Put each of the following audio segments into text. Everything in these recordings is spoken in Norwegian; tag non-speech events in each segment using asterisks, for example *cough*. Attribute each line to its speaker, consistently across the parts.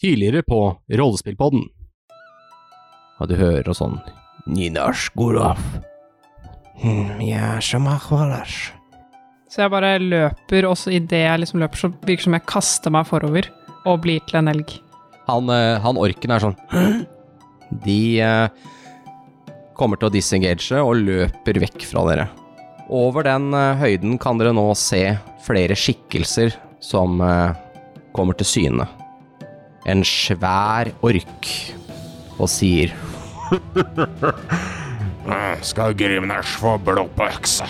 Speaker 1: tidligere på Rollespillpodden.
Speaker 2: Og du hører sånn Ninash Goraf.
Speaker 3: Så jeg bare løper, og så idet jeg liksom løper, så virker det som jeg kaster meg forover og blir til en elg.
Speaker 2: Han, eh, han orken er sånn «Hæ?» De eh, kommer til å disengage og løper vekk fra dere. Over den eh, høyden kan dere nå se flere skikkelser som eh, kommer til syne. En svær ork og sier
Speaker 4: Eh, Skal Grimners få blod på øksa?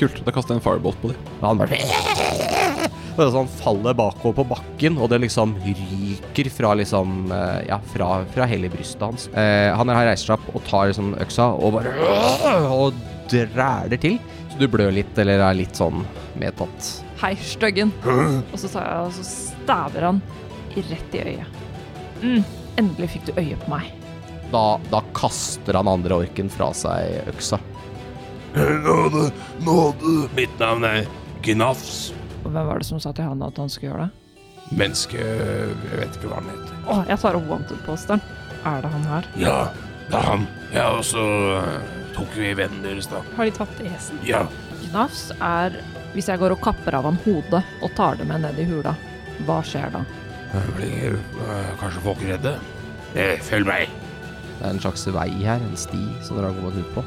Speaker 5: Kult. Da kaster jeg en firebolt på dem.
Speaker 2: Og han bare Og det er sånn faller bakover på bakken, og det liksom ryker fra liksom eh, Ja, fra, fra hele brystet hans. Eh, han her reiser seg opp og tar liksom øksa og bare Og dræler til. Så du blør litt, eller er litt sånn medtatt.
Speaker 6: Hei, styggen. Og så, tar jeg, og så staver han rett i øyet. Mm, endelig fikk du øye på meg.
Speaker 2: Da, da kaster han andre orken fra seg øksa.
Speaker 4: Nåde, nåde. Mitt navn er Gnafs.
Speaker 6: Og hvem var det som sa til han at han skulle gjøre det?
Speaker 4: Menneske Jeg vet ikke hva han heter.
Speaker 6: Å, jeg tar opp wanted-posteren. Er det han her?
Speaker 4: Ja, det er han. Ja, og så eh, tok vi vennen deres, da.
Speaker 3: Har de tatt esen?
Speaker 4: Ja.
Speaker 6: Gnafs er hvis jeg går og kapper av han hodet og tar det med ned i hula. Hva skjer da?
Speaker 4: Jeg Blir eh, kanskje folk redde? Eh, følg meg.
Speaker 2: Det er en slags vei her, en sti som dere har kommet ut på.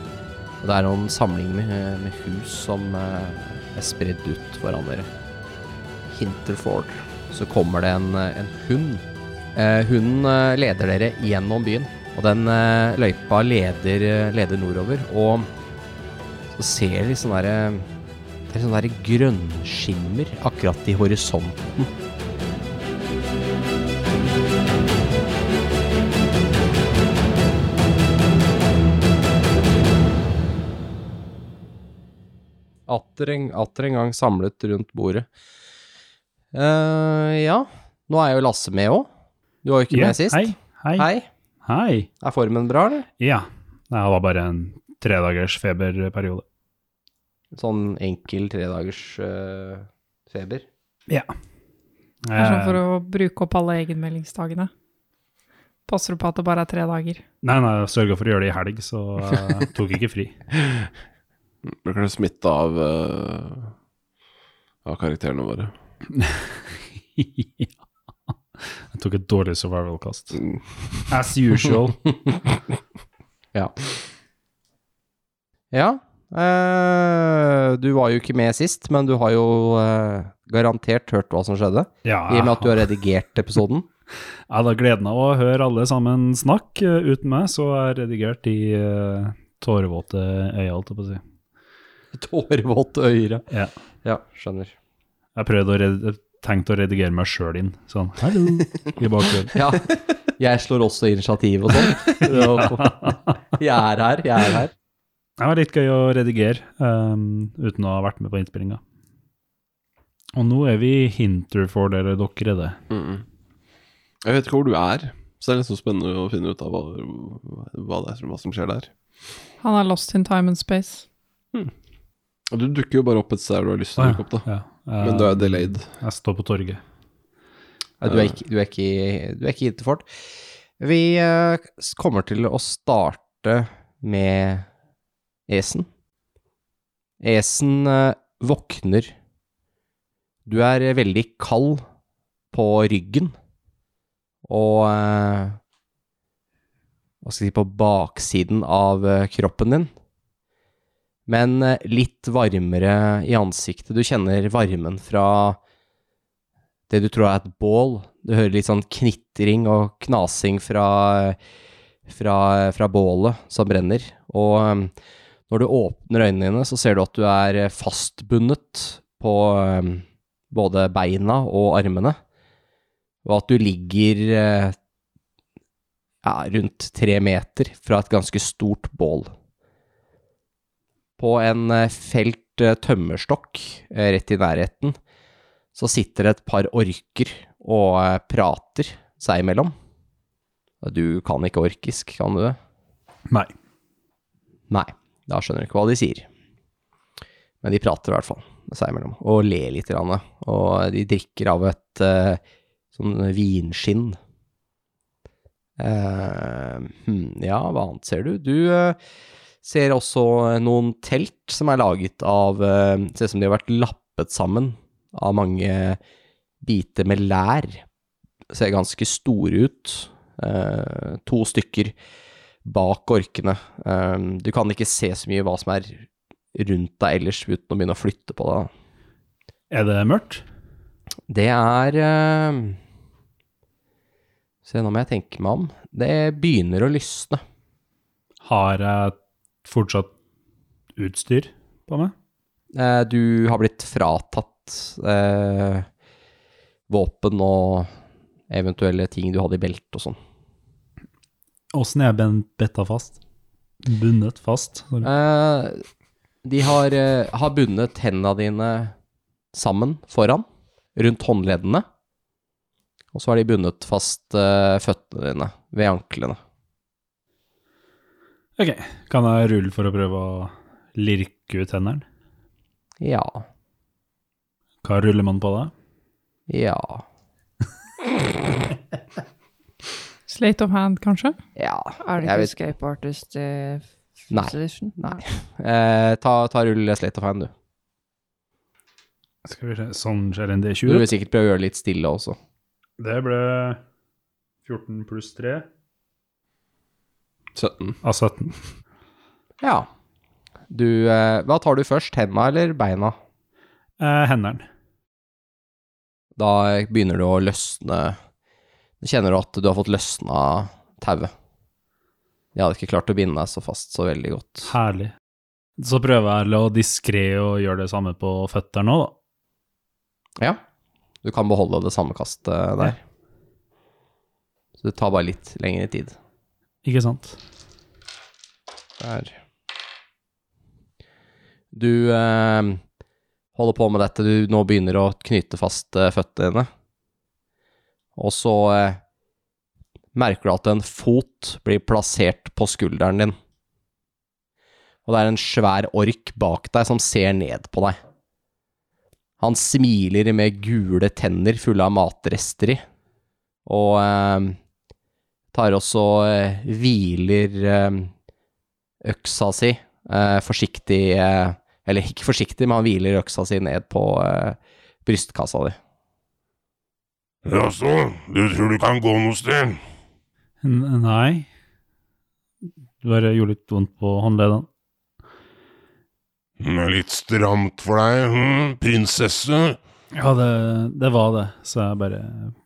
Speaker 2: Og det er noen samling med, med hus som eh, er spredd ut foran dere. Hinterford. Så kommer det en, eh, en hund. Eh, hunden eh, leder dere gjennom byen, og den eh, løypa leder, eh, leder nordover. Og så ser dere litt sånne derre Det er sånne derre grønnskimmer akkurat i horisonten. Atter en, atter en gang samlet rundt bordet. Eh, ja, nå er jo Lasse med òg. Du var jo ikke
Speaker 7: Ja,
Speaker 2: med sist.
Speaker 7: Hei, hei, hei.
Speaker 2: Hei. Er formen bra, eller?
Speaker 7: Ja, det her var bare en tredagers feberperiode.
Speaker 2: Sånn enkel tredagers uh, feber.
Speaker 7: Ja.
Speaker 3: Det er sånn
Speaker 7: Eh,
Speaker 3: for å bruke opp alle egenmeldingsdagene. Passer du på at det bare er tre dager?
Speaker 7: Nei, nei, jeg sørga for å gjøre det i helg, så eh, tok ikke fri.
Speaker 5: Blir kanskje smitta av, eh, av karakterene våre.
Speaker 7: ja. Jeg tok et dårlig survival-kast. As usual.
Speaker 2: Ja. eh, du var jo ikke med sist, men du har jo eh, garantert hørt hva som skjedde.
Speaker 7: Ja,
Speaker 2: I og med at du har redigert *laughs* episoden.
Speaker 7: Jeg hadde gleden av å høre alle sammen snakke eh, uten meg, så jeg har redigert i eh, tårevåte øyne, holdt jeg på å si.
Speaker 2: Tårevått øyre.
Speaker 7: Ja.
Speaker 2: Ja, skjønner.
Speaker 7: Jeg prøvde å red tenkte å redigere meg sjøl inn, sånn hallo, i bakgrunnen.
Speaker 2: Ja. *laughs* Jeg slår også initiativ og sånn. *laughs* Jeg er her, jeg er her.
Speaker 7: Det var litt gøy å redigere ehm, uten å ha vært med på innspillinga. Og nå er vi i Hinterford, eller dere er det.
Speaker 5: Mm. Jeg vet ikke hvor du er, så det er liksom spennende å finne ut av hva, hva det er som, hva som skjer der.
Speaker 3: Han er lost in time and space.
Speaker 5: Og Du dukker jo bare opp et sted du har lyst til å dukke opp, da.
Speaker 7: Ja, eh,
Speaker 5: Men du er delayed.
Speaker 7: Jeg står på torget.
Speaker 2: Ja, Du er ikke, du er ikke, du er ikke Hinterford. Vi eh, s- kommer til å starte med Esen. Esen eh, våkner. Du er eh, veldig kald på ryggen. Og eh, Hva skal jeg si På baksiden av eh, kroppen din. Men eh, litt varmere i ansiktet. Du kjenner varmen fra det du tror er et bål. Du hører litt sånn knitring og knasing fra, fra, fra bålet som brenner. Og um, når du åpner øynene dine, så ser du at du er eh, fastbundet på um, både beina og armene. Og at du ligger eh, ja, rundt tre meter fra et ganske stort bål. På en eh, felt eh, tømmerstokk eh, rett i nærheten så sitter det et par orker og eh, prater seg imellom. Og Du kan ikke orkisk, kan du det?
Speaker 7: Nei.
Speaker 2: Nei, da skjønner du ikke hva de sier. Men de prater i hvert fall seg imellom, og ler litt. Grann, og de drikker av et eh, Sånn vinskinn. Eh, hm, ja, hva annet ser du? Du eh, ser også noen telt som er laget av eh, Ser ut som de har vært lappet sammen av mange biter med lær. Ser ganske store ut. Eh, to stykker bak orkene. Eh, du kan ikke se så mye hva som er rundt deg ellers uten å begynne å flytte på deg.
Speaker 7: Er det mørkt?
Speaker 2: Det er eh, Se, nå må jeg tenke meg om. Det begynner å lysne.
Speaker 7: Har jeg fortsatt utstyr på meg?
Speaker 2: Eh, Du har blitt fratatt eh, våpen og eventuelle ting du hadde i beltet og sånn.
Speaker 7: Åssen er jeg ben- betta fast? Bundet fast? Sorry.
Speaker 2: Eh, de har, eh, har bundet hendene dine sammen foran, rundt håndleddene. Og så har de bundet fast eh, føttene dine ved anklene.
Speaker 7: Ok, kan jeg rulle for å prøve å lirke ut hendene?
Speaker 2: Ja,
Speaker 7: Hva ruller man på da?
Speaker 2: ja,
Speaker 3: Slate of hand, kanskje?
Speaker 2: ja.
Speaker 6: Er det
Speaker 2: Jeg
Speaker 6: ikke
Speaker 2: vet-
Speaker 6: Escape Artist eh, First
Speaker 2: Nei.
Speaker 6: Edition?
Speaker 2: Nei. Eh, ta, ta rull slate of hand, du.
Speaker 7: Skal vi se, sånn skjer en
Speaker 2: Du
Speaker 7: D20.
Speaker 2: vil sikkert prøve å gjøre det litt stille også.
Speaker 7: Det ble 14 pluss 3.
Speaker 5: 17.
Speaker 7: Av 17.
Speaker 2: Ja. Du, eh, hva tar du først, henda eller beina?
Speaker 7: Eh, hendene.
Speaker 2: Da begynner du å løsne Du kjenner at du har fått løsna tauet. Jeg hadde ikke klart å binde deg så fast så veldig godt.
Speaker 7: Herlig. Så prøver jeg å diskré og gjøre det samme på føttene òg, da.
Speaker 2: Ja. Du kan beholde det samme kastet der. Så det tar bare litt lengre tid.
Speaker 7: Ikke sant?
Speaker 2: Der. Du eh, holder på med dette, du nå begynner å knyte fast eh, føttene dine. Og så eh, merker du at en fot blir plassert på skulderen din. Og det er en svær ork bak deg som ser ned på deg. Han smiler med gule tenner fulle av matrester i, og eh, tar også eh, hviler eh, øksa si eh, forsiktig eh, Eller ikke forsiktig, men han hviler øksa si ned på eh, brystkassa di.
Speaker 4: Jaså, du tror du kan gå noe sted?
Speaker 7: N nei. Det bare gjorde litt vondt på håndleddene.
Speaker 4: Det er litt stramt for deg, hm, prinsesse.
Speaker 7: Ja, det, det var det, så jeg bare,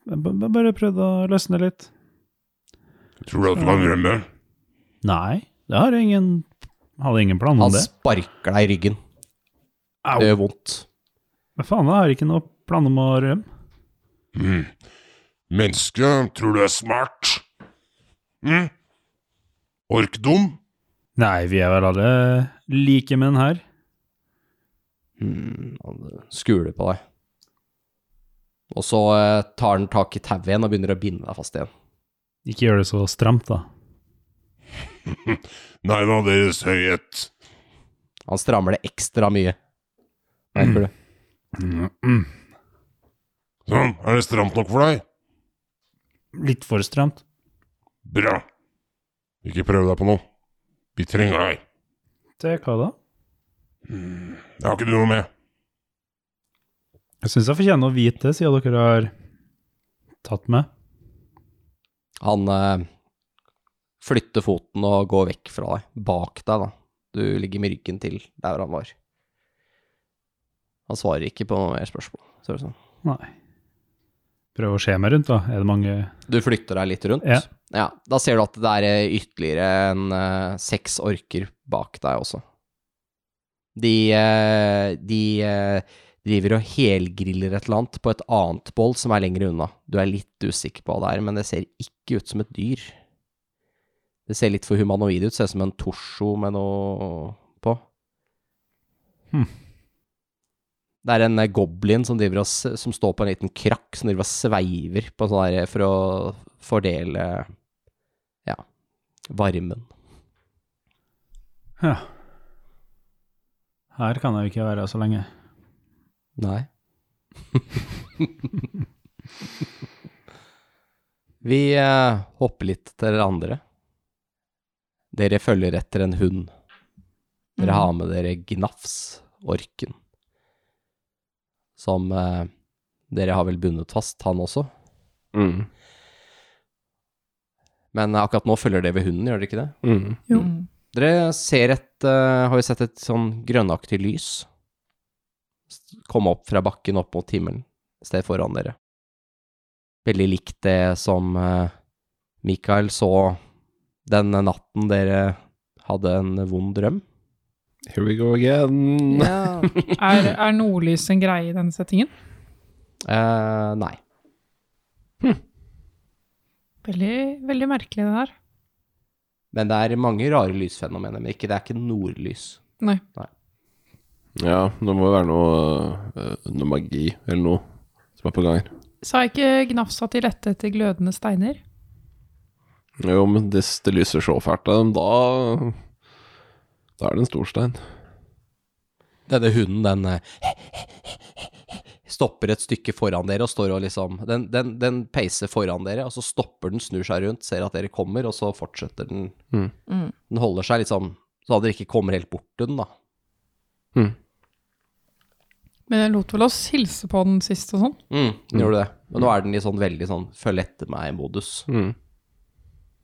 Speaker 7: jeg ba- ba- bare prøvde å løsne litt.
Speaker 4: Tror du at du kan rømme?
Speaker 7: Nei, det har jeg ingen Hadde ingen plan om
Speaker 2: Han
Speaker 7: det.
Speaker 2: sparker deg i ryggen.
Speaker 7: Au.
Speaker 2: Det gjør vondt.
Speaker 7: Men faen, jeg har ikke noe plan om å rømme.
Speaker 4: Hm. Menneske, tror du er smart? Hm? Orkdom?
Speaker 7: Nei, vi er vel alle like menn her.
Speaker 2: Hmm, han skuler på deg. Og så eh, tar han tak i tauet igjen og begynner å binde deg fast igjen.
Speaker 7: Ikke gjør det så stramt, da.
Speaker 4: Nei da, Deres Høyhet.
Speaker 2: Han strammer det ekstra mye.
Speaker 7: Mm.
Speaker 2: Merker du?
Speaker 4: Sånn, er det stramt nok for deg?
Speaker 7: Litt for stramt.
Speaker 4: Bra. Ikke prøv deg på noe. Vi trenger deg.
Speaker 7: Til hva da?
Speaker 4: Det har ikke du noe med.
Speaker 7: Jeg syns jeg fortjener å vite det, siden dere har tatt meg.
Speaker 2: Han eh, flytter foten og går vekk fra deg. Bak deg, da. Du ligger med ryggen til der han var. Han svarer ikke på noe mer spørsmål, ser det ut som.
Speaker 7: Nei. Prøv å se meg rundt, da. Er det mange
Speaker 2: Du flytter deg litt rundt?
Speaker 7: Ja.
Speaker 2: Ja, Da ser du at det er eh, ytterligere en eh, seks orker bak deg også. De, eh, de eh, driver og helgriller et eller annet på et annet bål som er lenger unna. Du er litt usikker på hva det er, men det ser ikke ut som et dyr. Det ser litt for humanoid ut, ser ut som en torso med noe på.
Speaker 7: Hm.
Speaker 2: Det er en eh, goblin som, driver og, s- som står på en liten krakk, som driver og sveiver på en sånn der for å fordele ja, varmen.
Speaker 7: Ja. Her kan jeg jo ikke være så lenge.
Speaker 2: Nei. *laughs* Vi eh, hopper litt til dere andre. Dere følger etter en hund. Dere
Speaker 6: Mhm.
Speaker 2: har med dere Gnafs, orken, som eh, dere har vel bundet fast, han også.
Speaker 5: Mm.
Speaker 2: Men eh, akkurat nå følger det ved hunden, gjør dere ikke det?
Speaker 5: Mm.
Speaker 3: Jo.
Speaker 6: Mm.
Speaker 2: Dere ser et eh, Har jo sett et sånn grønnaktig lys s- komme opp fra bakken opp mot himmelen, et sted foran dere. Veldig likt det som eh, Mikael så den natten dere hadde en vond drøm.
Speaker 5: Here we go again.
Speaker 3: Er, er nordlys en greie i denne settingen?
Speaker 2: *laughs* Eh, nei.
Speaker 3: Veldig, veldig merkelig, det her.
Speaker 2: Men det er mange rare lysfenomener, men ikke, det er ikke nordlys.
Speaker 5: Ja, det må jo være noe, eh, noe magi eller noe som er på gang her.
Speaker 3: Sa ikke Gnafs at de lette etter glødende steiner?
Speaker 5: Jo, men hvis det lyser så fælt, da Da er det en stor stein.
Speaker 2: Denne hunden, den eh, stopper et stykke foran dere og står og liksom den, den, den peiser foran dere, og så stopper den, snur seg rundt, ser at dere kommer, og så fortsetter den.
Speaker 5: Mm.
Speaker 6: Mm.
Speaker 2: Den holder seg liksom så dere ikke kommer helt bort til den, da.
Speaker 5: Hm,
Speaker 3: Men jeg lot vel oss hilse på den sist og sånn.
Speaker 2: Mm, Den Gjorde det. Men nå er den i sånn veldig sånn følg etter meg-modus.
Speaker 5: Mm.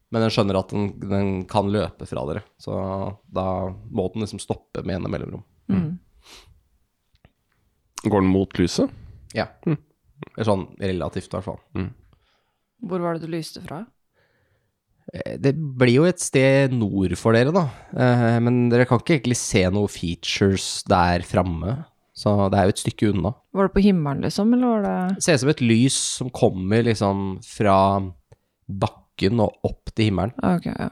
Speaker 2: Men den skjønner at den, den kan løpe fra dere, så da må den liksom stoppe med en mellomrom.
Speaker 5: Går den mot lyset?
Speaker 2: Ja. Eller sånn relativt, i hvert fall.
Speaker 6: Hvor var det du lyste fra?
Speaker 2: Eh, Det blir jo et sted nord for dere, da. Eh, Men dere kan ikke egentlig se noen features der framme. Så det er jo et stykke unna.
Speaker 6: Var det på himmelen, liksom, eller var det
Speaker 2: Det ser ut som et lys som kommer liksom fra bakken og opp til himmelen.
Speaker 6: Ah, Ok, ja.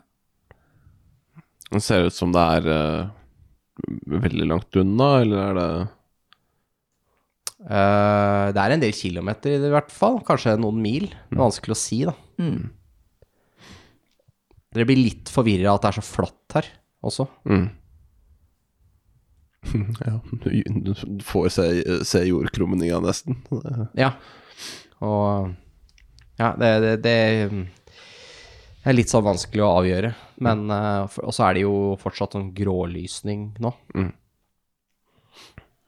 Speaker 5: Det ser ut som det er eh, veldig langt unna, eller er det
Speaker 2: Eh, Det er en del kilometer i det, i hvert fall. Kanskje noen mil. Det er vanskelig å si, da.
Speaker 6: Mm.
Speaker 2: Dere blir litt forvirra at det er så flatt her også.
Speaker 5: mm. *laughs* Ja, du du får se, se jordkrumninga nesten. Det-
Speaker 2: Ja. Og Ja, det, det, det er litt sånn vanskelig å avgjøre. Men eh, for- Og så er det jo fortsatt sånn grålysning nå.
Speaker 5: Mm.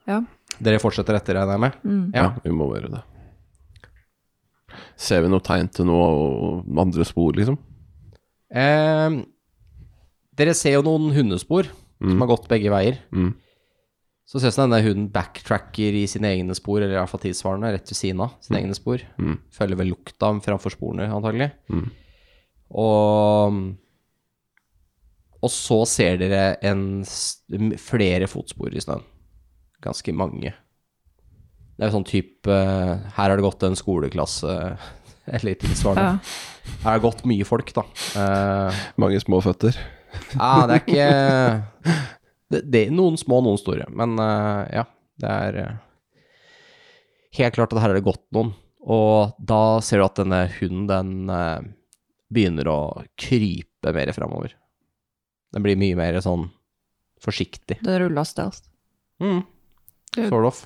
Speaker 6: Ja.
Speaker 2: Dere fortsetter etter, regner jeg med?
Speaker 6: Mm.
Speaker 2: Ja.
Speaker 5: Ja, vi må gjøre det. Ser vi noe tegn til noe og andre spor, liksom?
Speaker 2: Eh, dere ser jo noen hundespor som har gått begge veier.
Speaker 5: Mm.
Speaker 2: Så ser det ut som denne hunden backtracker i sine egne spor, eller i hvert fall tilsvarende, rett ved siden av sine egne spor.
Speaker 5: Mm.
Speaker 2: Følger vel lukta framfor sporene, antagelig.
Speaker 5: Mm.
Speaker 2: Og Og så ser dere en, s- m- flere fotspor i snøen. Ganske mange. Det er jo sånn type eh, Her har det gått en skoleklasse, *laughs* eller tilsvarende.
Speaker 6: Ja.
Speaker 2: Her har det gått mye folk, da. Eh,
Speaker 5: Mange små føtter.
Speaker 2: ja, det er ikke det, det er Noen små, noen store. Men eh, ja, det er eh, helt klart at her er det gått noen. Og da ser du at denne hunden, den eh, begynner å krype mer framover. Den blir mye mer sånn forsiktig.
Speaker 6: Den rulla stealth.
Speaker 2: Mm.
Speaker 3: Det-
Speaker 2: Sort of.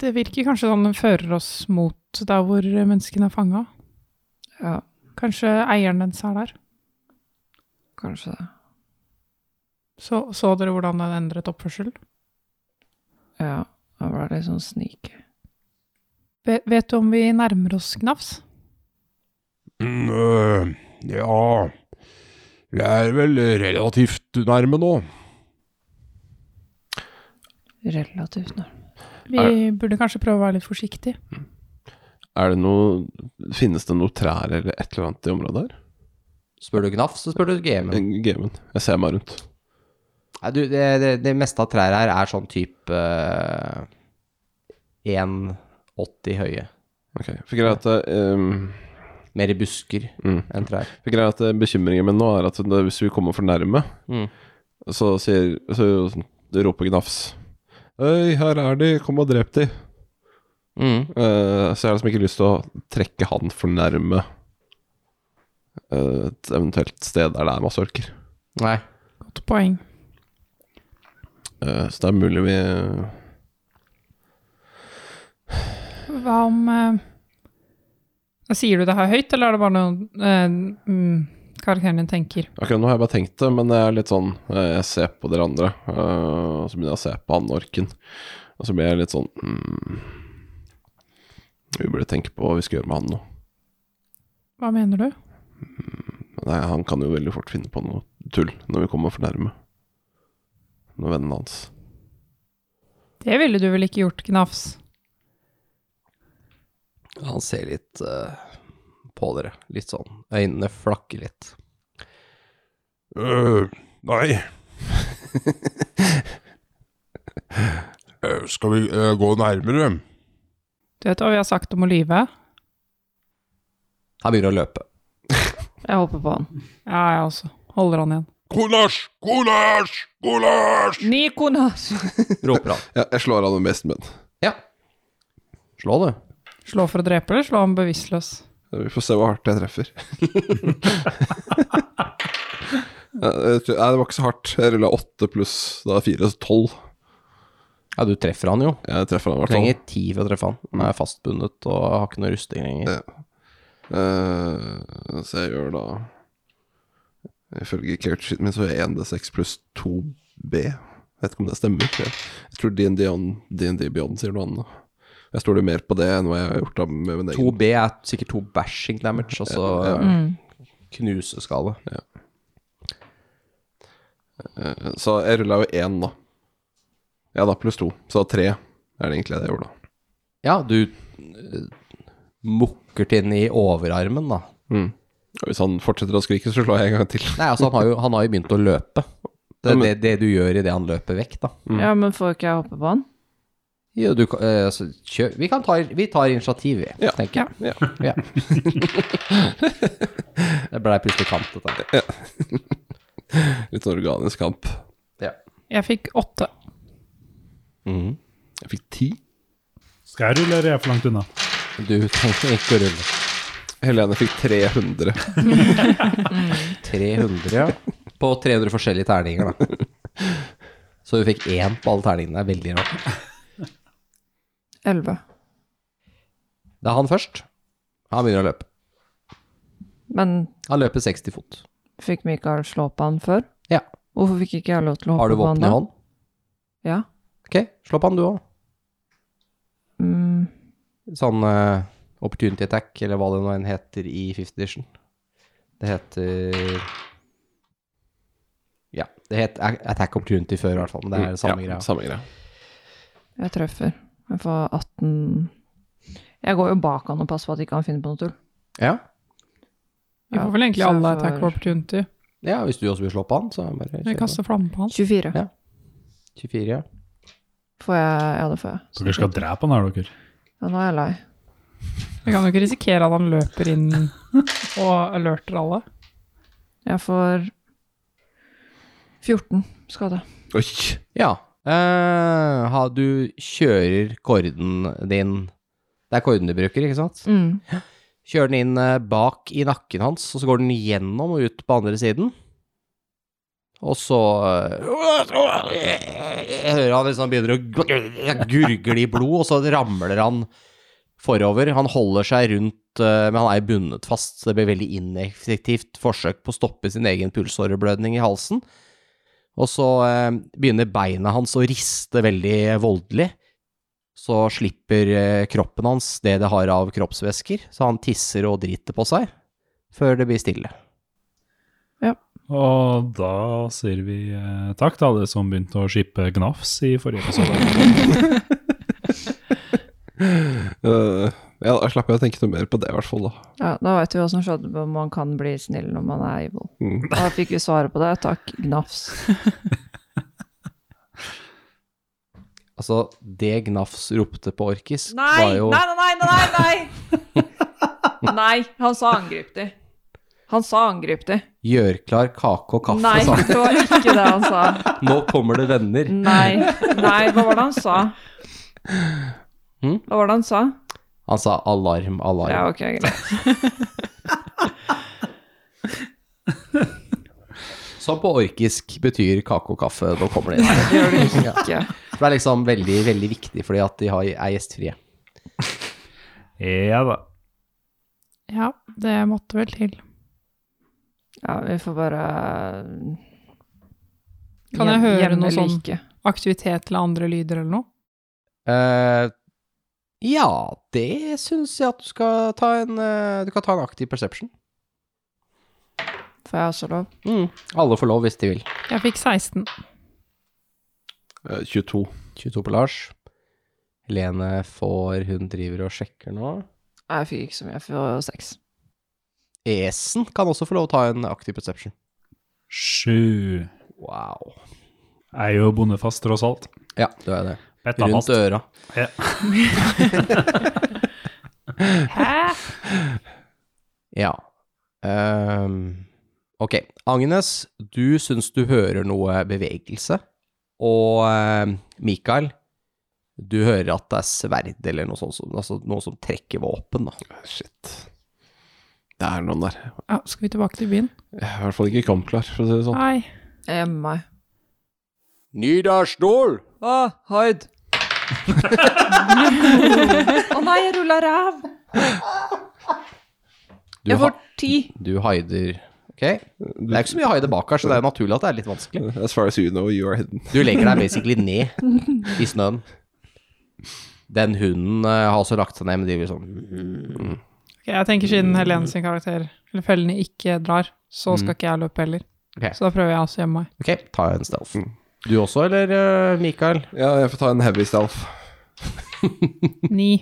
Speaker 3: Det virker kanskje sånn den fører oss mot der hvor menneskene er fanga.
Speaker 6: Ja,
Speaker 3: Kanskje eieren dens er der.
Speaker 6: kanskje det.
Speaker 3: Så, så dere hvordan den endret oppførsel?
Speaker 6: Ja, han var litt sånn sneaky.
Speaker 3: Ve- vet du om vi nærmer oss Gnafs?
Speaker 4: Mm, øh, ja Jeg er vel relativt nærme nå.
Speaker 6: Relativt nå.
Speaker 3: Vi burde kanskje prøve å være litt forsiktige.
Speaker 5: Er det noe Finnes det noe trær eller et eller annet i området her?
Speaker 2: Spør du Gnaff, så spør du GM.
Speaker 5: Eh, Gamen. Jeg ser meg rundt.
Speaker 2: Nei, du, det, det, det meste av trær her er sånn type eh, 1,80 høye.
Speaker 5: Ok, Fikk greie at ehm,
Speaker 2: Mer busker
Speaker 5: mm.
Speaker 2: enn trær.
Speaker 5: Fikk greie at eh, bekymringen min nå er at det, hvis vi kommer for nærme,
Speaker 2: Mm.
Speaker 5: så sier Så roper Gnafs Øy, her er de, kom og drep de.
Speaker 2: Mm.
Speaker 5: Eh, så jeg har liksom ikke lyst til å trekke han for nærme eh, et eventuelt sted der det er masse orker.
Speaker 2: Nei.
Speaker 3: Godt poeng.
Speaker 5: Eh, så det er mulig vi
Speaker 3: Hva om eh, Sier du det her høyt, eller er det bare noe eh, mm, karakteren din tenker?
Speaker 5: Akkurat nå har jeg bare tenkt det, men jeg er litt sånn eh, Jeg ser på dere andre, eh, og så begynner jeg å se på han orken. Og så blir jeg litt sånn hmm, Vi burde tenke på hva vi skal gjøre med han nå.
Speaker 3: Hva mener du?
Speaker 5: Men Nei, han kan jo veldig fort finne på noe tull når vi kommer for nærme. Når vennene hans
Speaker 3: Det ville du vel ikke gjort, Gnafs?
Speaker 2: Han ser litt eh, på dere, litt sånn. Øynene flakker litt.
Speaker 4: Øh, nei. Øh, skal vi øh, gå nærmere?
Speaker 3: Du vet hva vi har sagt om å lyve?
Speaker 2: Han begynner å løpe.
Speaker 6: Jeg håper på han.
Speaker 3: Ja, jeg også. Holder han igjen.
Speaker 4: Kolasj! Kolasj! Kolasj!
Speaker 6: Nikonas!
Speaker 2: Roper han.
Speaker 5: Ja, jeg slår av den besten min.
Speaker 2: Ja. Slå, du.
Speaker 3: Slå for å drepe, eller slå han bevisstløs?
Speaker 5: Vi får se hvor hardt jeg treffer. Ja, jeg tror- Nei, det var ikke så hardt. Jeg rulla åtte pluss da er fire, så tolv.
Speaker 2: Ja, du treffer han jo.
Speaker 5: Jeg treffer han i
Speaker 2: Du
Speaker 5: hvert fall.
Speaker 2: trenger ti for å treffe han. Han er fastbundet og har ikke noe rusting lenger.
Speaker 5: Eh, så jeg gjør da Ifølge character sheeten min så er 1D6 pluss 2B. Jeg vet ikke om det stemmer. Jeg, jeg tror D&D on- D&D Beyond sier noe annet. Jeg stoler mer på det enn hva jeg har gjort av med min egen.
Speaker 2: 2B er sikkert to bashing damage, og så knuseskade.
Speaker 5: Eh, Så jeg rulla jo 1, da. Ja da, pluss 2. Så 3 er det egentlig det jeg gjorde, da.
Speaker 2: Ja, du eh, mukker til den i overarmen, da.
Speaker 5: Og hvis han sånn, fortsetter å skrike, så slår jeg en gang til. *laughs*
Speaker 2: Nei, altså, han har jo, han har jo begynt å løpe. Det
Speaker 5: Ja,
Speaker 2: er
Speaker 5: men-
Speaker 2: det, det du gjør idet han løper vekk, da.
Speaker 6: Ja, men får ikke jeg hoppe på han?
Speaker 2: Jo, du, kan- eh, altså, kjør, vi, kan ta, vi tar initiativ, vi,
Speaker 5: Ja.
Speaker 2: tenker jeg.
Speaker 5: Ja.
Speaker 2: Ja. *laughs* det blei plutselig kant, dette.
Speaker 5: Litt sånn organisk kamp.
Speaker 2: Ja.
Speaker 3: Jeg fikk åtte.
Speaker 5: Jeg fikk 10.
Speaker 7: Skal jeg rulle, eller er jeg for langt unna?
Speaker 2: Du trenger ikke å rulle.
Speaker 5: Helene fikk 300.
Speaker 2: 300, ja.
Speaker 5: *laughs*
Speaker 2: På 300 forskjellige terninger, da. Så du fikk én på alle terningene. Det er veldig rart.
Speaker 6: Elleve.
Speaker 2: Det er han først. Han begynner å løpe.
Speaker 6: Men
Speaker 2: Han løper 60 fot.
Speaker 6: fikk Mikael slå på han før?
Speaker 2: Ja.
Speaker 6: Hvorfor fikk ikke jeg lov til å
Speaker 2: Har
Speaker 6: hoppe
Speaker 2: du
Speaker 6: på han
Speaker 2: våpen i
Speaker 6: da?
Speaker 2: hånd?
Speaker 6: Ja.
Speaker 2: Ok, slå på han du òg.
Speaker 6: Mm,
Speaker 2: Sånn eh, opportunity attack, eller hva det nå enn heter i 5th edition. Det heter Ja, det het a- attack opportunity før, i hvert fall, men det er det samme
Speaker 5: Mm, ja,
Speaker 2: greia.
Speaker 5: Samme greia.
Speaker 6: jeg treffer. Jeg får 18 Jeg går jo bak han og passer på at ikke han finner på noe tull.
Speaker 2: Ja.
Speaker 3: Vi
Speaker 6: Ja,
Speaker 3: får vel egentlig
Speaker 6: så jeg
Speaker 3: alle
Speaker 6: får-
Speaker 3: attack of opportunity.
Speaker 2: ja, hvis du også vil slå på han, så bare
Speaker 3: Vi
Speaker 2: kjør.
Speaker 3: kaster flamme på han.
Speaker 6: 24.
Speaker 2: Ja. 24, ja.
Speaker 6: Får jeg Ja, det får jeg.
Speaker 7: Så dere skal drepe han her, dere.
Speaker 6: Ja, nå er jeg lei.
Speaker 3: Vi kan jo ikke risikere at han løper
Speaker 2: *laughs*
Speaker 3: inn og alerter alle.
Speaker 6: Jeg får 14 skade.
Speaker 5: Oi!
Speaker 2: Ja. eh, ha, du kjører korden din Det er korden du bruker, ikke sant?
Speaker 6: Mm.
Speaker 2: Kjører den inn eh, bak i nakken hans, og så går den gjennom og ut på andre siden. Og så eh, Jeg hører han liksom begynner å gurgle i blod, og så ramler han forover. Han holder seg rundt, eh, men han er bundet fast, så det blir veldig ineffektivt forsøk på å stoppe sin egen pulsåreblødning i halsen. Og så eh, begynner beina hans å riste veldig voldelig så slipper eh, kroppen hans det det har av kroppsvæsker, så han tisser og driter på seg før det blir stille.
Speaker 7: Og da sier vi eh, takk til alle som begynte å skippe Gnafs i forrige episode. *laughs*
Speaker 5: Eh, ja, da slapp jeg å tenke noe mer på det, i hvert fall. da
Speaker 6: Ja, da vet vi hva som skjedde om man kan bli snill når man er evil.
Speaker 5: Mm.
Speaker 6: Da fikk vi svaret på det. Takk, gnafs.
Speaker 2: Altså, det Gnafs ropte på Orkis, var
Speaker 6: Nei,
Speaker 2: jo
Speaker 6: nei, nei, nei, nei, nei! *laughs* Nei, han sa angrip de. Han sa angrip de.
Speaker 2: 'gjør klar kake og kaffe',
Speaker 6: Nei, Mm.
Speaker 2: sa
Speaker 6: det var ikke det han sa.
Speaker 2: han. *laughs* 'Nå kommer det venner'.
Speaker 6: Nei, nei, hva var det han sa?
Speaker 2: Hm?
Speaker 6: Hva var det han sa?
Speaker 2: Han sa 'alarm, alarm'.
Speaker 6: Ja, ok, greit.
Speaker 2: Som på orkisk betyr kake og kaffe, nå kommer det
Speaker 6: *laughs*
Speaker 2: inn.
Speaker 6: Gjør det
Speaker 2: *laughs*
Speaker 6: ikke.
Speaker 2: For det er liksom veldig, veldig viktig, fordi at de har, er gjestfrie.
Speaker 7: ja da.
Speaker 3: Ja, det måtte vel til.
Speaker 6: Ja, vi får bare
Speaker 3: Kan jeg
Speaker 6: Gjem-
Speaker 3: høre
Speaker 6: gjemme
Speaker 3: noe sånn?
Speaker 6: liket.
Speaker 3: Aktivitet eller andre lyder eller noe?
Speaker 2: Eh, ja, det syns jeg at du skal ta en eh, Du kan ta en aktiv perception.
Speaker 6: Får jeg også lov?
Speaker 2: Mm. Alle får lov hvis de vil.
Speaker 3: Jeg fikk 16.
Speaker 5: Eh, 22.
Speaker 2: 22 på Lars. Helene får Hun driver og sjekker nå.
Speaker 6: Nei, jeg fikk ikke så mye. Jeg får seks.
Speaker 2: Esen kan også få lov å ta en aktiv perception.
Speaker 7: Sju.
Speaker 2: Wow.
Speaker 7: Jeg er jo bondefast, tross alt.
Speaker 2: Ja, du er det.
Speaker 7: Betta
Speaker 2: Rundt
Speaker 7: fast.
Speaker 2: øra.
Speaker 3: Hæ?
Speaker 2: Ja. Ehm, ok. Agnes, du syns du hører noe bevegelse. Og eh, Mikael, du hører at det er sverd eller noe sånt, som- altså noe som trekker våpen, da.
Speaker 5: Shit. Det er noen der.
Speaker 3: Ja, skal vi tilbake til byen?
Speaker 5: Jeg er I hvert fall ikke kampklar, for å si det sånn.
Speaker 3: Nei.
Speaker 6: Jeg gjemmer meg.
Speaker 2: Nidarsdol!
Speaker 6: Å, Høyd! *laughs* Å nei, jeg rulla ræv!
Speaker 2: Du,
Speaker 6: Jeg
Speaker 2: ha
Speaker 6: får ti.
Speaker 2: du haider Ok. Det er ikke så mye haide bak her, så det er jo naturlig at det er litt vanskelig.
Speaker 5: As far as you know, you are hidden.
Speaker 2: Du legger deg basically ned i snøen. Den hunden eh, har også lagt seg ned, men driver sånn
Speaker 3: Ok, jeg tenker siden Helene sin karakter, eller fellene, ikke drar, så skal ikke jeg løpe heller.
Speaker 2: Mm. Ok.
Speaker 3: Så da prøver jeg også å gjemme meg.
Speaker 2: Ok, ta en stealth. Du også, eller eh, Mikael?
Speaker 5: Ja, jeg får ta en heavy stealth.
Speaker 3: Ni.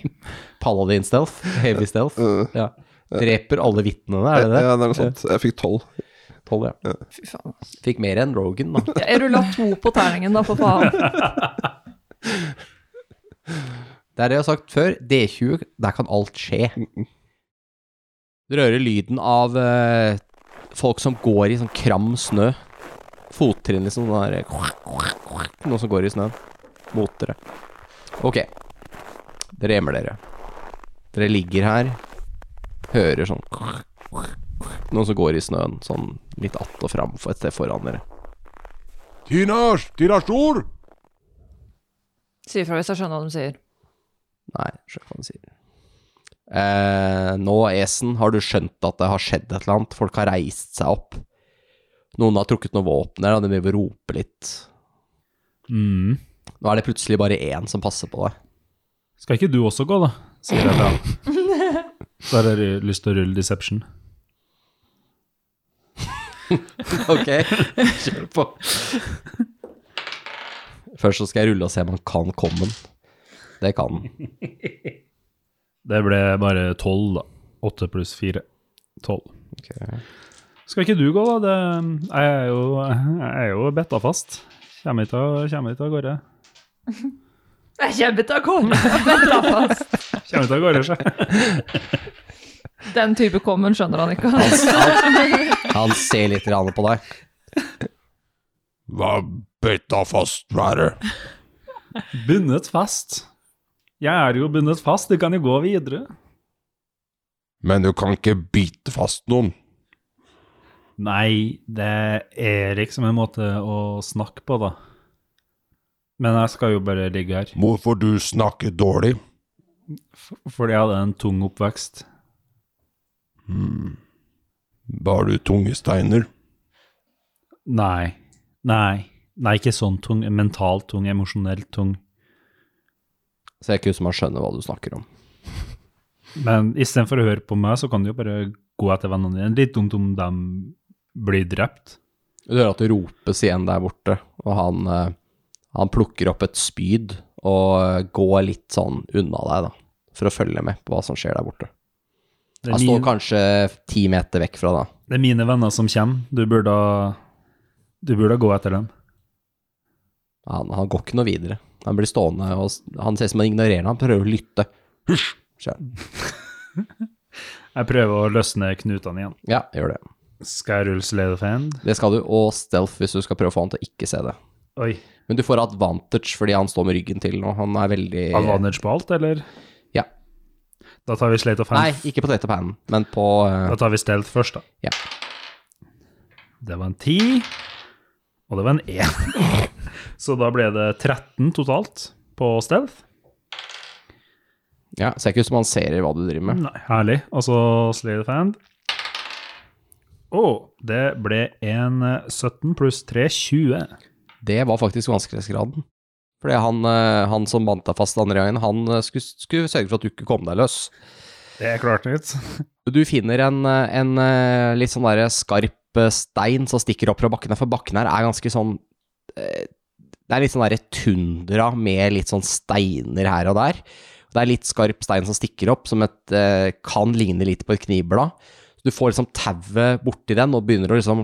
Speaker 2: Paladin stealth, heavy stealth.
Speaker 5: Eh,
Speaker 2: Ja. Dreper alle vitnene, er det det?
Speaker 5: Ja, det er noe sånt. Jeg fikk 12.
Speaker 2: Tolv, ja.
Speaker 6: Fy faen. ass.
Speaker 2: Fikk mer enn Rogan, da.
Speaker 6: Jeg rulla to på terningen, da, for faen.
Speaker 2: Det er det jeg har sagt før, D20, der kan alt skje. Dere hører lyden av eh, folk som går i sånn kram snø. Fottrinn, liksom. Sånn der, noen som går i snøen. Mot dere. Ok. Dere gjemmer dere. Dere ligger her, hører sånn Noen som går i snøen, sånn litt att og fram for et sted foran dere.
Speaker 4: Tinas! Tirasdol!
Speaker 6: Si ifra hvis jeg skjønner hva de sier.
Speaker 2: Nei, skjønner hva han sier. Eh, nå, Esen, har du skjønt at det har skjedd et eller annet? Folk har reist seg opp. Noen har trukket noen våpen her, og de vil rope litt.
Speaker 7: Mm.
Speaker 2: Nå er det plutselig bare én som passer på deg.
Speaker 7: Skal ikke du også gå, da? Sier jeg da. Da har jeg lyst til å rulle deception.
Speaker 2: Ok, *laughs* kjør på. Først så skal jeg rulle og se om han kan komme. Det kan han.
Speaker 7: Det ble bare tolv, da. Åtte pluss fire. Tolv. Skal ikke du gå, da? Det, jeg er jo, jeg er jo betta fast. Kommer ikke av kommer ikke av gårde.
Speaker 6: Jeg kommer til å *laughs* komme!
Speaker 7: Kommer ikke av gårde, sjø.
Speaker 6: Den type kommen skjønner han ikke. altså.
Speaker 2: Han ser litt rane på deg.
Speaker 4: Hva bøtta fast være?
Speaker 7: *laughs* Bundet fast. Jeg er jo bundet fast, du kan jo gå videre.
Speaker 4: Men du kan ikke bite fast noen.
Speaker 7: Nei, det er liksom en måte å snakke på, da. Men jeg skal jo bare ligge her.
Speaker 4: Hvorfor du snakker dårlig?
Speaker 7: F- Fordi jeg hadde en tung oppvekst.
Speaker 4: Bar du tunge steiner?
Speaker 7: Nei. Nei. Nei, ikke sånn tung. Mentalt tung, emosjonelt tung.
Speaker 2: Ser ikke ut som han skjønner hva du snakker om.
Speaker 7: Men istedenfor å høre på meg, så kan du jo bare gå etter vennene dine. Litt dumt om de blir drept.
Speaker 2: Du hører at det ropes igjen der borte, og han, eh, han plukker opp et spyd og eh, går litt sånn unna deg, da, for å følge med på hva som skjer der borte.
Speaker 7: Det
Speaker 2: Han
Speaker 7: er,
Speaker 2: står
Speaker 7: mine,
Speaker 2: kanskje ti meter vekk fra deg.
Speaker 7: det er mine venner som kommer. Du burde Du burde gå etter dem.
Speaker 2: Han, han går ikke noe videre. Han blir stående, og s- han ser ut som han ignorerer ham, prøver å lytte. Hysj! sier han.
Speaker 7: Jeg prøver å løsne knutene igjen.
Speaker 2: Ja, gjør det.
Speaker 7: Skal jeg rulle Slade of Hand?
Speaker 2: Det skal du, og stealth hvis du skal prøve å få han til å ikke se det.
Speaker 7: Oi.
Speaker 2: Men du får advantage fordi han står med ryggen til, og han er veldig
Speaker 7: Advantage på alt, eller?
Speaker 2: Ja.
Speaker 7: Da tar vi Slate of Hand.
Speaker 2: Nei, ikke på dette pannen, men på eh,
Speaker 7: Da tar vi Stealth først, da.
Speaker 2: Ja.
Speaker 7: Det var en 10, og det var en *laughs* 1. Så da ble det 13 totalt på Stealth.
Speaker 2: Ja, Ser ikke ut som han ser hva du driver med.
Speaker 7: Nei, herlig. Og så Slay the Fan. Å, det ble en eh, 17 pluss 3, 20.
Speaker 2: Det var faktisk vanskelighetsgraden. Fordi han, eh, han som bandt deg fast andre gangen, han eh, skulle, skulle sørge for at du ikke kom deg løs.
Speaker 7: Det klarte jeg
Speaker 2: Du finner en, eh, en eh, litt sånn der skarp eh, stein som stikker opp fra bakken her, for bakken her er ganske sånn eh, Det er litt sånn der tundra med litt sånn steiner her og der. Det er litt skarp stein som stikker opp, som et, eh, kan ligne litt på et knivblad. Så Du får liksom tauet borti den og begynner å liksom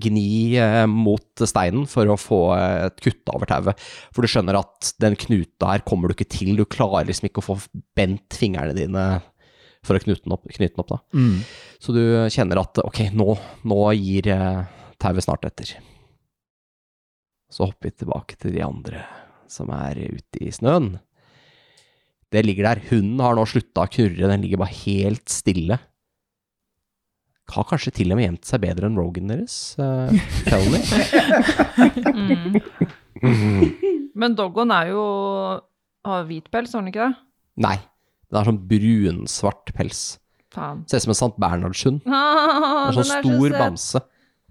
Speaker 2: gni eh, mot steinen for å få eh, et kutt over tauet. For du skjønner at den knuta her kommer du ikke til. Du klarer liksom ikke å få bent fingrene dine for å knute den opp. Knyte den opp da.
Speaker 7: Mm.
Speaker 2: Så du kjenner at ok, nå, nå gir eh, tauet snart etter. Så hopper vi tilbake til de andre som er ute i snøen. Det ligger der. Hunden har nå slutta å knurre, den ligger bare helt stille. Har kanskje til og med gjemt seg bedre enn Rogan deres, uh,
Speaker 6: *laughs*
Speaker 2: Felony.
Speaker 6: Mm. *laughs* Men doggoen er jo Har hvit pels, har den ikke det?
Speaker 2: Nei, den har sånn brunsvart pels.
Speaker 6: Faen.
Speaker 2: Ser ut som en St. Bernhardshund.
Speaker 6: Ah,
Speaker 2: Den er sånn
Speaker 6: så
Speaker 2: stor
Speaker 6: søt.
Speaker 2: bamse.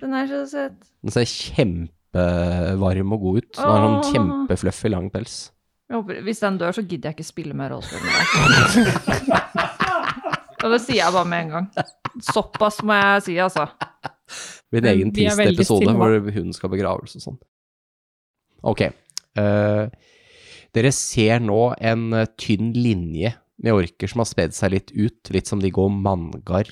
Speaker 6: Den er så søt.
Speaker 2: Den ser kjempevarm og god ut. Den har
Speaker 6: Åh.
Speaker 2: sånn kjempefluffy, lang pels.
Speaker 6: Jeg håper, hvis den dør, så gidder jeg ikke spille mer rollespill med deg. *laughs* Og det sier jeg bare med en gang. Såpass må jeg si, altså.
Speaker 2: Min
Speaker 3: Men
Speaker 2: egen
Speaker 3: vi er
Speaker 2: tiste
Speaker 3: veldig
Speaker 2: episode
Speaker 3: stille, da.
Speaker 2: hvor hunden skal begraves og sånn. Ok. eh, dere ser nå en eh, tynn linje med orker som har spedd seg litt ut, litt som de går manngard.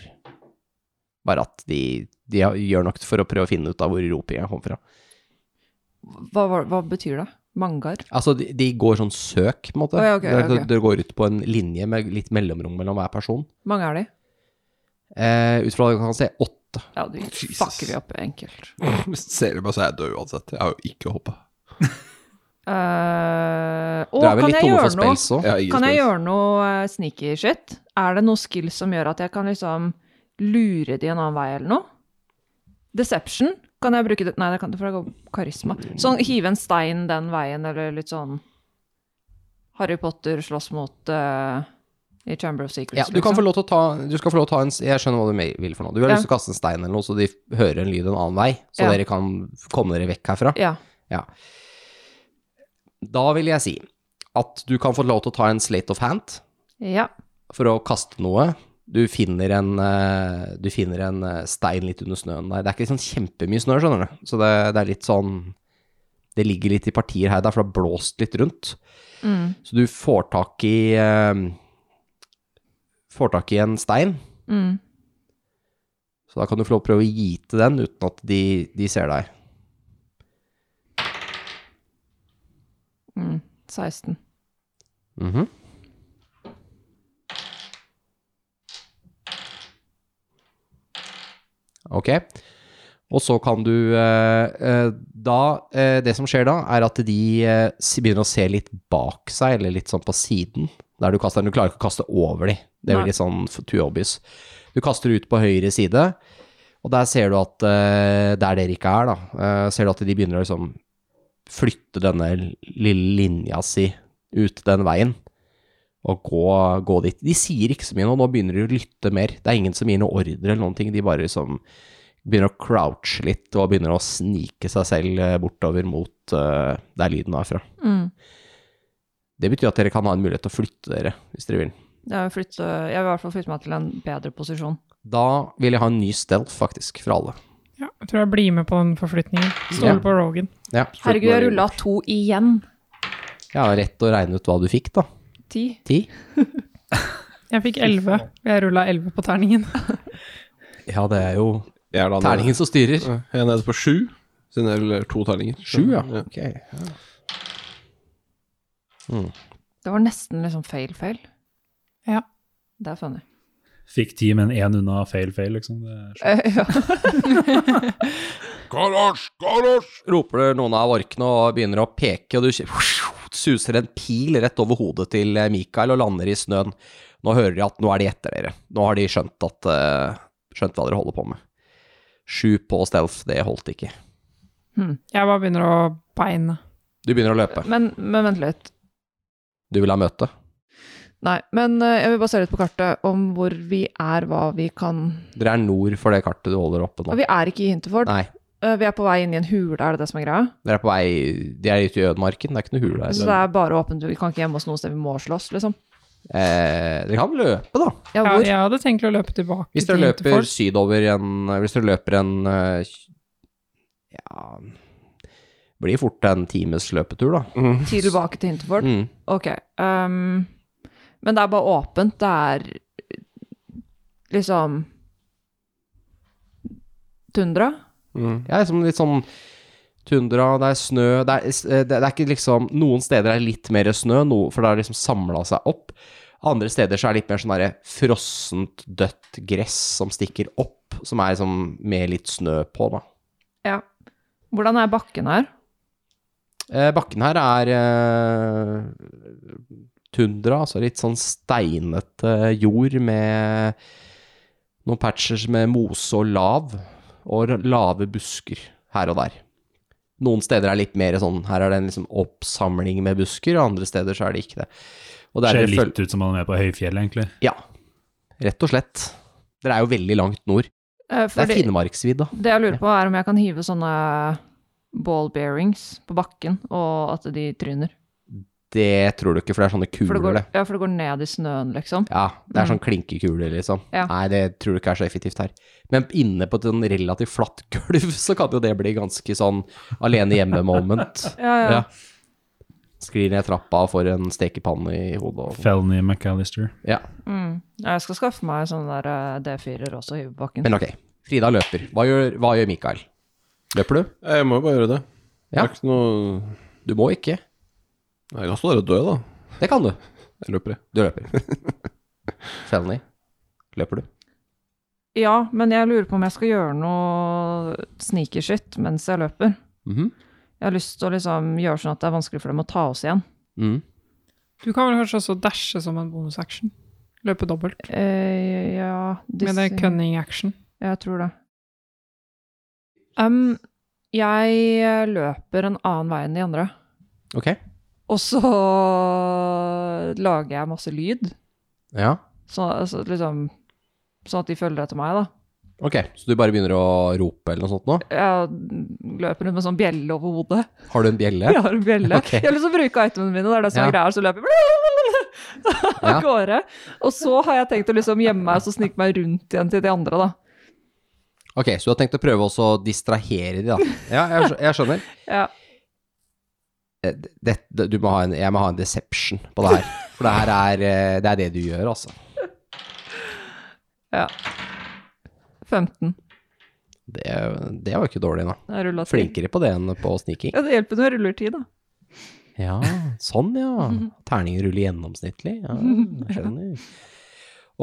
Speaker 2: Bare at de, de har- gjør nok for å prøve å finne ut av hvor ropinga kom fra.
Speaker 6: Hva, var- hva betyr det? Mangar?
Speaker 2: Altså, de, de går sånn søk, på en måte.
Speaker 6: Å ja, ok,
Speaker 2: dere,
Speaker 6: ok.
Speaker 2: dere går ut på en linje med litt mellomrom mellom hver person.
Speaker 6: Mange er de?
Speaker 2: Eh, ut fra det kan man se åtte.
Speaker 6: Ja, du
Speaker 5: Jesus.
Speaker 6: fucker vi opp enkelt.
Speaker 5: Hvis du *laughs* ser det bare, så er jeg død uansett. Jeg har jo ikke hoppa.
Speaker 6: Uh, å,
Speaker 2: Dere er vel
Speaker 6: kan
Speaker 2: litt
Speaker 6: jeg
Speaker 2: tomme
Speaker 6: gjøre
Speaker 2: for
Speaker 6: noe?
Speaker 2: spels òg?
Speaker 5: Jeg har ingen
Speaker 6: Kan jeg
Speaker 5: spes.
Speaker 6: gjøre noe eh, sneaky shit? Er det noe skill som gjør at jeg kan liksom lure de en annen vei eller noe? Deception? Kan jeg bruke det? Nei, det kan ikke, for det går karisma. Sånn hive en stein den veien, eller litt sånn Harry Potter slåss mot eh, i Chamber of Secrets.
Speaker 2: Ja, du kan få lov til å ta Du skal få lov til å ta en Jeg skjønner hva du me- vil for noe. Du har
Speaker 6: liksom. Ja.
Speaker 2: lyst til å kaste en stein eller noe, så de f- hører en lyd en annen vei. Så
Speaker 6: Ja.
Speaker 2: dere kan komme dere vekk herfra.
Speaker 6: Ja.
Speaker 2: Da vil jeg si at du kan få lov til å ta en slate of hand
Speaker 6: ja.
Speaker 2: for å kaste noe. Du finner en, eh, du finner en eh, stein litt under snøen der. Det er ikke sånn kjempemye snø, skjønner du. Så det, det er litt sånn Det ligger litt i partier her og der, for det har blåst litt rundt.
Speaker 6: Mm.
Speaker 2: Så du får tak i eh, Får tak i en stein.
Speaker 6: Mm.
Speaker 2: Så da kan du få lov å prøve å gite den uten at de, de ser deg.
Speaker 6: 16.
Speaker 2: Mhm. Ok. Og så kan du eh, eh, Da eh, Det som skjer da, er at de eh, s- begynner å se litt bak seg, eller litt sånn på siden, der du kaster den. Du klarer ikke å kaste over de. Det
Speaker 6: Nei.
Speaker 2: blir litt sånn f- too obvious. Du kaster ut på høyre side, og der ser du at eh, Der dere ikke er, da, eh, ser du at de begynner å liksom flytte denne lille linja si ut den veien og gå, gå dit. De sier ikke så mye nå, nå begynner de å lytte mer. Det er ingen som gir noe ordre eller noen ting, de bare liksom begynner å crouche litt og begynner å snike seg selv eh, bortover mot eh, der lyden er fra.
Speaker 6: Mm.
Speaker 2: Det betyr at dere kan ha en mulighet til å flytte dere, hvis dere vil.
Speaker 6: Jeg, vil flytte, jeg vil i hvert fall flytte meg til en bedre posisjon.
Speaker 2: Da vil jeg ha en ny stealth, faktisk, fra alle.
Speaker 3: *laughs* Ja, jeg tror jeg blir med på den forflytningen. Stoler
Speaker 2: Ja.
Speaker 3: på Rogan.
Speaker 2: Ja,
Speaker 6: Herregud, jeg rulla to igjen.
Speaker 2: Jeg har rett å regne ut hva du fikk, da.
Speaker 6: Ti.
Speaker 2: Ti?
Speaker 3: Jeg fikk 11, og jeg rulla 11 på *laughs* terningen.
Speaker 2: Ja, det er jo
Speaker 5: Jeg er da nede-
Speaker 2: terningen som styrer.
Speaker 5: Ja, Jeg er nede på sju, siden jeg ruller to terninger.
Speaker 2: Sju, ja.
Speaker 5: ja.
Speaker 2: Ok. ja.
Speaker 6: Det var nesten liksom fail-fail.
Speaker 3: Ja.
Speaker 6: Det er funny.
Speaker 7: Fikk ti, men én unna fail-fail, liksom. Det er
Speaker 6: *laughs* ja.
Speaker 4: Garasj! Garasj!
Speaker 2: roper det noen av orkene og begynner å peke, og du kj- *laughs* suser en pil rett over hodet til eh, Mikael og lander i snøen. Nå hører de at nå er de etter dere. Nå har de skjønt, at, eh, skjønt hva dere holder på med. Sju på stealth, det holdt ikke.
Speaker 6: Hmm.
Speaker 3: Jeg bare begynner å beine.
Speaker 2: Du begynner å løpe.
Speaker 6: men, men vent litt.
Speaker 2: Du vil ha møte.
Speaker 6: Nei, men eh, jeg vil bare se litt på kartet om hvor vi er, hva vi kan
Speaker 2: Dere er nord for det kartet du holder oppe
Speaker 6: Og
Speaker 2: nå.
Speaker 6: Vi er ikke i Hinterford.
Speaker 2: Nei,
Speaker 6: Eh, Vi er på vei inn i en hule, er det det som er greia?
Speaker 2: dere er på vei De er ute i ødemarken, det er ikke noe hule
Speaker 6: Så
Speaker 2: der.
Speaker 6: det er bare åpent, vi kan ikke gjemme oss noe sted, vi må slåss, liksom.
Speaker 2: Eh, dere kan løpe, da.
Speaker 6: Ja,
Speaker 3: Ja,
Speaker 6: hvor?
Speaker 3: jeg hadde tenkt å løpe tilbake
Speaker 2: Hvis dere løper
Speaker 3: Interford.
Speaker 2: sydover en Hvis dere løper en eh, Ja Blir fort en times løpetur, da.
Speaker 6: Ti tilbake til Hinterford?
Speaker 2: Mm.
Speaker 6: Ok. ehm, men det er bare åpent, det er liksom Tundra?
Speaker 5: Mm.
Speaker 2: Ja, liksom litt sånn tundra, det er snø Det er, eh, det det er ikke liksom Noen steder er det litt mer snø, no, for det har liksom samla seg opp. Andre steder så er det litt mer sånn derre frossent, dødt gress som stikker opp, som er liksom med litt snø på, da.
Speaker 6: Ja. Hvordan er bakken her?
Speaker 2: Eh, bakken her er eh, tundra, altså litt sånn steinete jord med noen patches med mose og lav, og lave busker her og der. Noen steder er litt mer sånn, her er det en liksom oppsamling med busker, og andre steder så er det ikke det. Og det er
Speaker 7: Ser
Speaker 2: dere føl-
Speaker 7: litt ut som man er på høyfjellet, egentlig.
Speaker 2: Ja, rett og slett. Dere er jo veldig langt nord. Det
Speaker 6: Eh,
Speaker 2: er
Speaker 6: Fordi,
Speaker 2: Finnmarksvidda.
Speaker 6: det jeg lurer på, er om jeg kan hive sånne ball bearings på bakken, og at de tryner.
Speaker 2: Det tror du ikke, for det er sånne
Speaker 6: For
Speaker 2: kuler,
Speaker 6: det går,
Speaker 2: det.
Speaker 6: ja, for det går ned i snøen, liksom.
Speaker 2: Ja, det er
Speaker 6: Mm.
Speaker 2: sånn klinkekuler, liksom.
Speaker 6: Ja.
Speaker 2: Nei, det tror du ikke er så effektivt her. Men inne på et sånn relativt flatt *laughs* gulv, så kan jo det bli ganske sånn alene hjemme-moment.
Speaker 6: Ja, ja.
Speaker 2: Ja. Sklir ned trappa og får en stekepanne i hodet. Og sånn.
Speaker 7: Felny McAllister.
Speaker 2: Ja,
Speaker 6: Mm. Ja, Jeg skal skaffe meg sånne der eh, D4-er også og hive på bakken.
Speaker 2: Men ok, Frida løper. Hva gjør, hva gjør Mikael? Løper du?
Speaker 5: Jeg må jo bare gjøre det. Det
Speaker 2: Ja.
Speaker 5: er ikke noe
Speaker 2: Du må ikke.
Speaker 5: Jeg kan stå der og dø, da.
Speaker 2: Det kan du.
Speaker 5: Jeg løper, jeg.
Speaker 2: Du løper. *laughs* Felny, løper du?
Speaker 6: Ja, men jeg lurer på om jeg skal gjøre noe sneakershit mens jeg løper.
Speaker 2: Mhm.
Speaker 6: Jeg har lyst til å liksom gjøre sånn at det er vanskelig for dem å ta oss igjen.
Speaker 2: Mm.
Speaker 3: Du kan vel kanskje også dashe som en bonusaction? Løpe dobbelt
Speaker 6: Eh, ja
Speaker 3: med det cunning action.
Speaker 6: Jeg tror det. Um, jeg løper en annen vei enn de andre.
Speaker 2: Ok.
Speaker 6: Og så lager jeg masse lyd,
Speaker 2: Ja.
Speaker 6: så, altså, liksom, sånn at de følger etter meg, da.
Speaker 2: Ok, Så du bare begynner å rope eller noe sånt nå?
Speaker 6: Jeg løper rundt med en sånn bjelle over hodet. *laughs*
Speaker 2: Har du en bjelle?
Speaker 6: Jeg har en bjelle. *laughs*
Speaker 2: Ok.
Speaker 6: Jeg har lyst til å bruke itemene mine, det er det som
Speaker 2: Ja.
Speaker 6: er greia. Så løper *laughs* jeg
Speaker 2: Ja.
Speaker 6: av gårde. Og så har jeg tenkt å liksom gjemme meg og så snike meg rundt igjen til de andre, da.
Speaker 2: Ok, så du har tenkt å prøve også å distrahere de, da. Ja, jeg, skjø- jeg skjønner.
Speaker 6: Ja.
Speaker 2: Eh, Det, det, du må ha en, jeg må ha en deception på det her. For det her er eh, det, er det du gjør, altså.
Speaker 6: 15.
Speaker 2: Det, det var jo ikke dårlig, da.
Speaker 6: Jeg rulla ti.
Speaker 2: Flinkere på det enn på sniking.
Speaker 6: *laughs* Ja, det hjelper når jeg ruller ti, da.
Speaker 2: Ja, sånn ja. Terningen ruller gjennomsnittlig. Ja, jeg skjønner.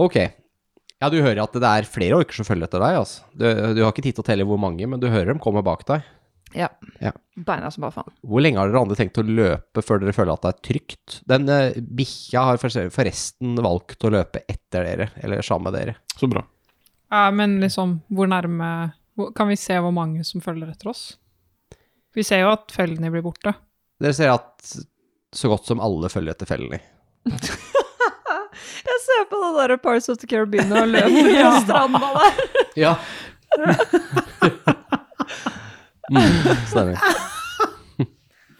Speaker 2: Ok. Ja, du hører at det er flere orker som følger etter deg, altså. Du, du har ikke tid til å telle hvor mange, men du hører dem komme bak deg.
Speaker 6: Ja.
Speaker 2: Ja.
Speaker 6: Beina som bare faen.
Speaker 2: Hvor lenge har dere andre tenkt å løpe før dere føler at det er trygt? Den eh, bikkja har forse- forresten valgt å løpe etter dere, eller sammen med dere.
Speaker 5: Så bra.
Speaker 3: Ja, men liksom, hvor nærme hvor- Kan vi se hvor mange som følger etter oss? Vi ser jo at fellene blir borte.
Speaker 2: Dere ser at så godt som alle følger etter fellene.
Speaker 6: Jeg ser på det der Parts of the Caribbean og løper *laughs* på stranda der.
Speaker 2: Ja. mm, stemmer.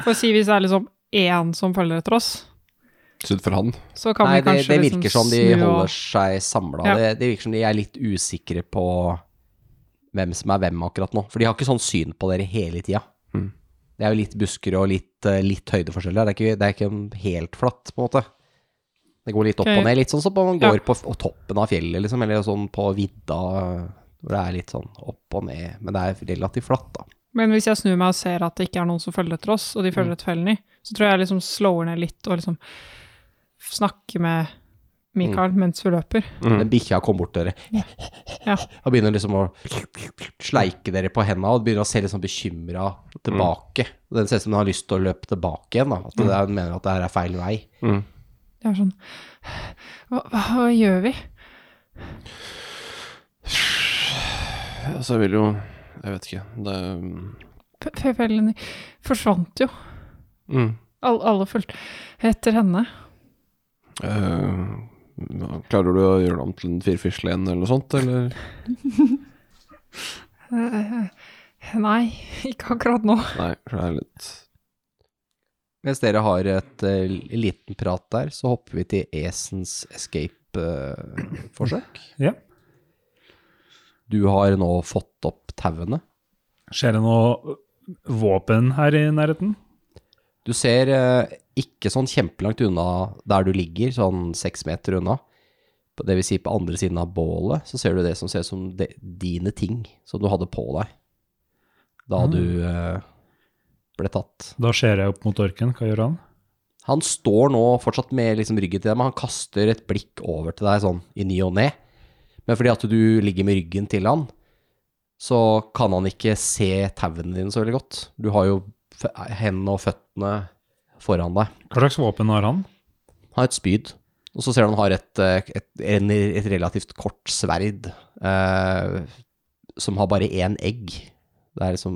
Speaker 3: For å si hvis det er liksom én som følger etter oss,
Speaker 5: Synd for han.
Speaker 3: så kan
Speaker 2: Nei,
Speaker 3: vi
Speaker 2: det,
Speaker 3: kanskje
Speaker 2: det
Speaker 3: liksom
Speaker 2: virker som de
Speaker 3: snu og-
Speaker 2: holder seg samla.
Speaker 3: Ja.
Speaker 2: Det, det virker som de er litt usikre på hvem som er hvem akkurat nå. For de har ikke sånn syn på dere hele tida.
Speaker 5: Mm.
Speaker 2: Det er jo litt busker og litt, eh, litt høydeforskjeller. Det er, ikke, det er ikke helt flatt, på en måte. Det går litt opp
Speaker 3: Ok.
Speaker 2: og ned, litt sånn som på- man
Speaker 3: Ja.
Speaker 2: går på, f- toppen av fjellet, liksom, eller sånn på vidda, hvor det er litt sånn opp og ned. Men det er relativt flatt, da.
Speaker 3: Men hvis jeg snur meg og ser at det ikke er noen som følger etter oss, og
Speaker 2: Mm.
Speaker 3: de følger etter fellene, så tror jeg jeg liksom slår ned litt og liksom snakker med
Speaker 2: Mm.
Speaker 3: Mikael mens vi løper.
Speaker 2: Den bikkja kom bort til dere.
Speaker 3: Ja.
Speaker 2: Og begynner liksom å sleike dere på henda og begynner å se litt sånn bekymra tilbake. Den ser ut som den har lyst til å løpe tilbake igjen, da. At det er- den mener at det her er feil vei.
Speaker 3: Jeg er sånn hva, hva, hva gjør vi?
Speaker 5: Altså, jeg vil jo Jeg vet ikke. Det er
Speaker 3: F- f- Fellene forsvant jo.
Speaker 5: mm.
Speaker 3: Alle, alle fulgte etter henne.
Speaker 5: Eh, klarer du å gjøre det om til en firfisle-en eller noe sånt, eller?
Speaker 3: Eh, Nei, *laughs* ikke akkurat nå.
Speaker 5: Nei, for det er litt
Speaker 2: Mens dere har et eh, liten prat der, så hopper vi til Esens escape-forsøk.
Speaker 7: Ja.
Speaker 2: Du har nå fått opp tauene.
Speaker 7: Skjer det noe våpen her i nærheten?
Speaker 2: Du ser eh, ikke sånn kjempelangt unna der du ligger, sånn seks meter unna. På- Det vil si på andre siden av bålet, så ser du det som ser ut som de, dine ting som du hadde på deg da
Speaker 7: Mm.
Speaker 2: du eh, ble tatt.
Speaker 7: Da ser jeg opp mot orken. Hva gjør han?
Speaker 2: Han står nå fortsatt med liksom ryggen til deg, men han kaster et blikk over til deg sånn i ny og ne. Men fordi at du ligger med ryggen til han, så kan han ikke se tauene dine så veldig godt. Du har jo f- hendene og føttene foran deg.
Speaker 7: Hva slags våpen har han?
Speaker 2: Han har et spyd, og så ser du han har et, eh, et, en- et relativt kort sverd eh, som har bare én egg. Det er liksom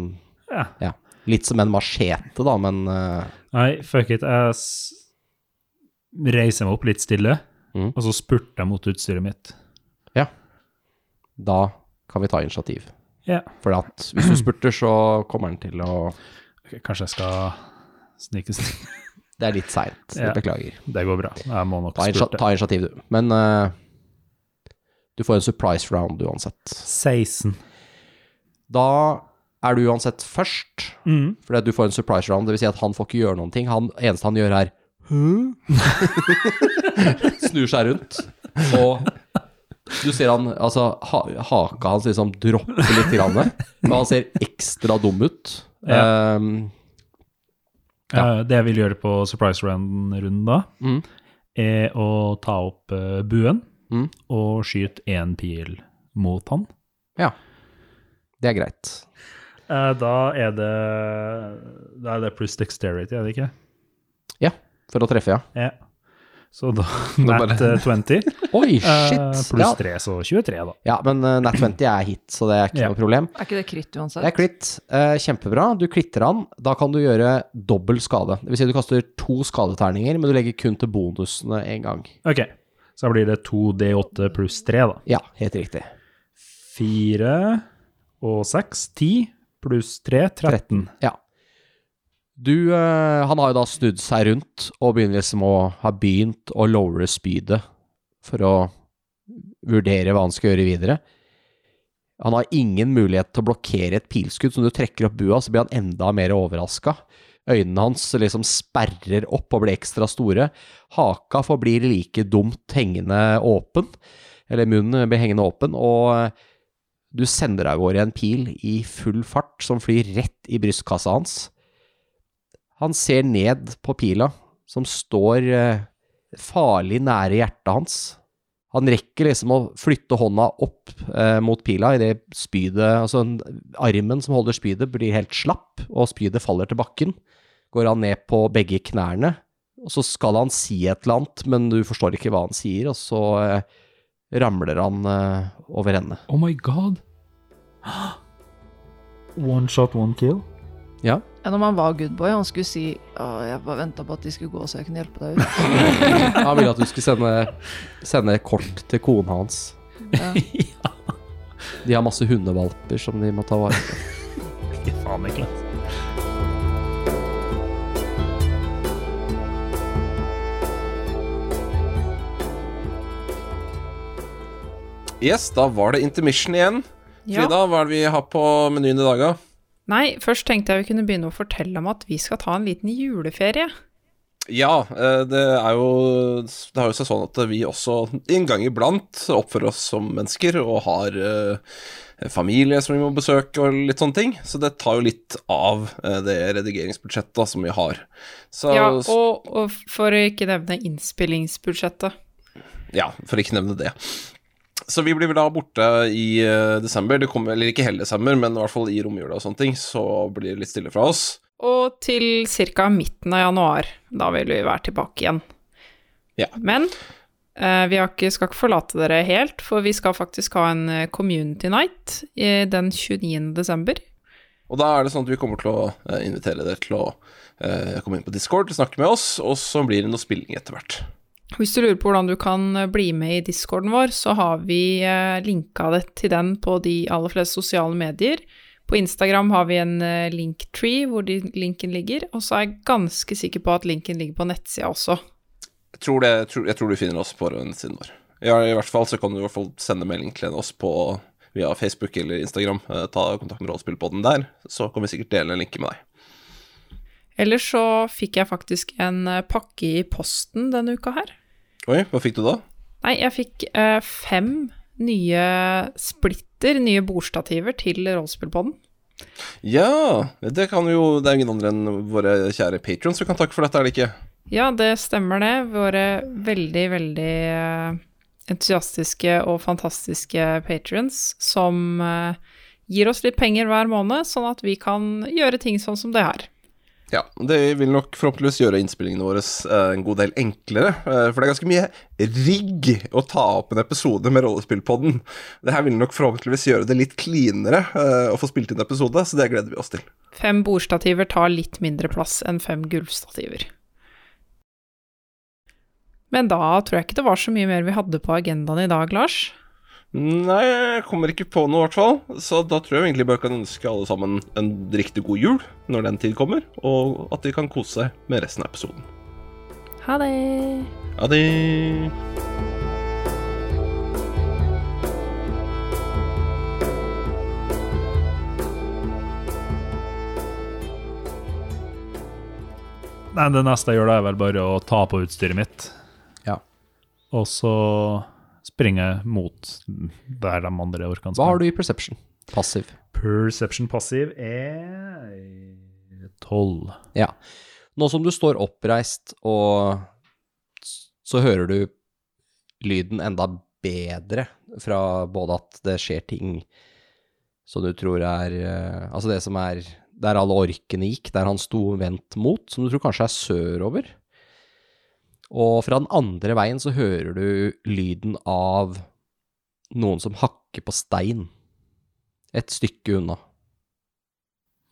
Speaker 7: Ja.
Speaker 2: litt som en machete, da, men eh,
Speaker 7: Nei, fuck it. Jeg s reiser meg opp litt stille,
Speaker 2: Mhm.
Speaker 7: og så spurter jeg mot utstyret mitt.
Speaker 2: da kan vi ta initiativ.
Speaker 7: Ja.
Speaker 2: For at hvis du spurter, så kommer han til å
Speaker 7: Ok, Kanskje jeg skal snike snike.
Speaker 2: Det er litt seint.
Speaker 7: Ja.
Speaker 2: Beklager.
Speaker 7: *laughs* Det går bra. Jeg må nok
Speaker 2: Ta, initiat-
Speaker 7: spurte.
Speaker 2: ta initiativ, du. Men eh, du får en surprise round uansett.
Speaker 7: 16.
Speaker 2: Da er du uansett først,
Speaker 7: Mhm.
Speaker 2: fordi at du får en surprise round. Det vil si at han får ikke gjøre noen ting. Han eneste han gjør, er *laughs* Snur seg rundt, og du ser han Altså, ha, haka hans liksom dropper litt, grann, og han ser ekstra dum ut.
Speaker 7: Ja.
Speaker 2: Ehm,
Speaker 7: Eh, det jeg vil gjøre på surprise round-runden da,
Speaker 2: Mhm.
Speaker 7: er å ta opp eh, buen
Speaker 2: Mhm.
Speaker 7: og skyte én pil mot han.
Speaker 2: det er greit.
Speaker 7: Eh, da er det Da er det pluss dexterity, er det ikke?
Speaker 2: For å treffe, ja.
Speaker 7: Ja. Så
Speaker 2: *laughs*
Speaker 7: da
Speaker 5: bare-
Speaker 7: Nat eh, 20.
Speaker 2: Oi, shit! ja.
Speaker 7: Eh, pluss 3, så 23, da.
Speaker 2: ja, men uh, Nat 20 er hit, så det er ikke
Speaker 7: Ja.
Speaker 2: noe problem.
Speaker 6: Er ikke det kritt uansett?
Speaker 2: Det er klitt. Eh, kjempebra. Du klitter han. Da kan du gjøre dobbel skade. Det vil si du kaster to skadeterninger, men du legger kun til bonusene én gang.
Speaker 7: Ok, så da blir det 2D8 pluss 3, da.
Speaker 2: Ja, helt riktig.
Speaker 7: 4 og 6, 10 pluss 3, 13.
Speaker 2: Ja. Du, eh, han har jo da snudd seg rundt og begynner liksom å ha begynt å lowre spydet for å vurdere hva han skal gjøre videre. Han har ingen mulighet til å blokkere et pilskudd, så når du trekker opp bua, så blir han enda mer overraska. Øynene hans liksom sperrer opp og blir ekstra store. Haka forblir like dumt hengende åpen, eller munnen blir hengende åpen, og eh, du sender av gårde en pil i full fart som flyr rett i brystkassa hans. Han ser ned på pila, som står eh, farlig nære hjertet hans. Han rekker liksom å flytte hånda opp eh, mot pila idet spydet Altså, en- armen som holder spydet, blir helt slapp, og spydet faller til bakken. Går han ned på begge knærne, og så skal han si et eller annet, men du forstår ikke hva han sier, og så eh, ramler han eh, over ende.
Speaker 7: Oh my god! *gasps* One shot, one kill.
Speaker 2: Ja.
Speaker 6: Ja, når man var good boy, han skulle si Å, jeg bare venta på at de skulle gå så jeg kunne hjelpe deg ut.
Speaker 2: *laughs* Han ville at du skulle sende, sende kort til kona hans. De har masse hundevalper som de må ta vare på.
Speaker 7: Ikke faen ikke.
Speaker 5: Yes, da var det intermission igjen.
Speaker 3: Ja.
Speaker 5: Frida, hva er det vi har på menyen i dag, da?
Speaker 3: Nei, først tenkte jeg vi kunne begynne å fortelle om at vi skal ta en liten juleferie.
Speaker 5: Ja, eh, det er jo Det har jo seg sånn at vi også en gang iblant oppfører oss som mennesker og har eh, familie som vi må besøke og litt sånne ting. Så det tar jo litt av eh, det redigeringsbudsjettet da, som vi har. Så
Speaker 3: Ja, og, og for å ikke nevne innspillingsbudsjettet.
Speaker 5: Ja, for ikke nevne det. Så vi blir da borte i eh, desember, det kommer, eller ikke hele desember, men i hvert fall i romjula og sånne ting, så blir det litt stille fra oss.
Speaker 3: Og til ca. midten av januar. Da vil vi være tilbake igjen.
Speaker 5: Ja.
Speaker 3: Men eh, vi har ikke, skal ikke forlate dere helt, for vi skal faktisk ha en eh, community night eh, den 29. desember.
Speaker 5: Og da er det sånn at vi kommer til å eh, invitere dere til å eh, komme inn på Discord, snakke med oss, og så blir det noe spilling etter hvert.
Speaker 3: Hvis du lurer på hvordan du kan eh, bli med i discorden vår, så har vi eh, linka det til den på de aller fleste sosiale medier. På Instagram har vi en eh, linktree hvor de, linken ligger, og så er jeg ganske sikker på at linken ligger på nettsida også.
Speaker 5: Jeg tror, det, jeg, tror, jeg tror du finner oss på siden vår. Ja, I hvert fall så kan du i hvert fall sende melding til oss på via Facebook eller Instagram. Eh, Ta kontakt med Rollespillpodden der, så kan vi sikkert dele en linke med deg.
Speaker 3: Ellers så fikk jeg faktisk en eh, pakke i posten denne uka her.
Speaker 5: Oi, hva fikk du da?
Speaker 3: Nei, jeg fikk eh, fem nye splitter, nye bordstativer til rollespillpodden.
Speaker 5: Ja, det kan jo Det er ingen andre enn våre kjære patrons som kan takke for dette, er det ikke?
Speaker 3: Ja, det stemmer det. Våre veldig, veldig eh, entusiastiske og fantastiske patrions som eh, gir oss litt penger hver måned, sånn at vi kan gjøre ting sånn som det her.
Speaker 5: Ja, det vil nok forhåpentligvis gjøre innspillingene våre eh, en god del enklere. eh, For det er ganske mye rigg å ta opp en episode med Rollespillpodden. Det her vil nok forhåpentligvis gjøre det litt cleanere eh, å få spilt inn episode, så det gleder vi oss til.
Speaker 3: Fem bordstativer tar litt mindre plass enn fem gulvstativer. Men da tror jeg ikke det var så mye mer vi hadde på agendaen i dag, Lars.
Speaker 5: Nei, jeg kommer ikke på noe, i hvert fall. Så da tror jeg vi egentlig bare kan ønske alle sammen en riktig god jul når den tid kommer, og at de kan kose seg med resten av episoden.
Speaker 3: Ha det!
Speaker 5: Ha det!
Speaker 7: Nei, det neste jeg gjør, da er vel bare å ta på utstyret mitt.
Speaker 2: Ja.
Speaker 7: Og så springe mot der de andre orkene
Speaker 2: Hva har du i perception? Passiv.
Speaker 7: Perception passiv er 12.
Speaker 2: Ja. Nå som du står oppreist, og s- så hører du lyden enda bedre fra både at det skjer ting som du tror er eh, Altså det som er der alle orkene gikk, der han sto vendt mot, som du tror kanskje er sørover. Og fra den andre veien så hører du lyden av noen som hakker på stein et stykke unna.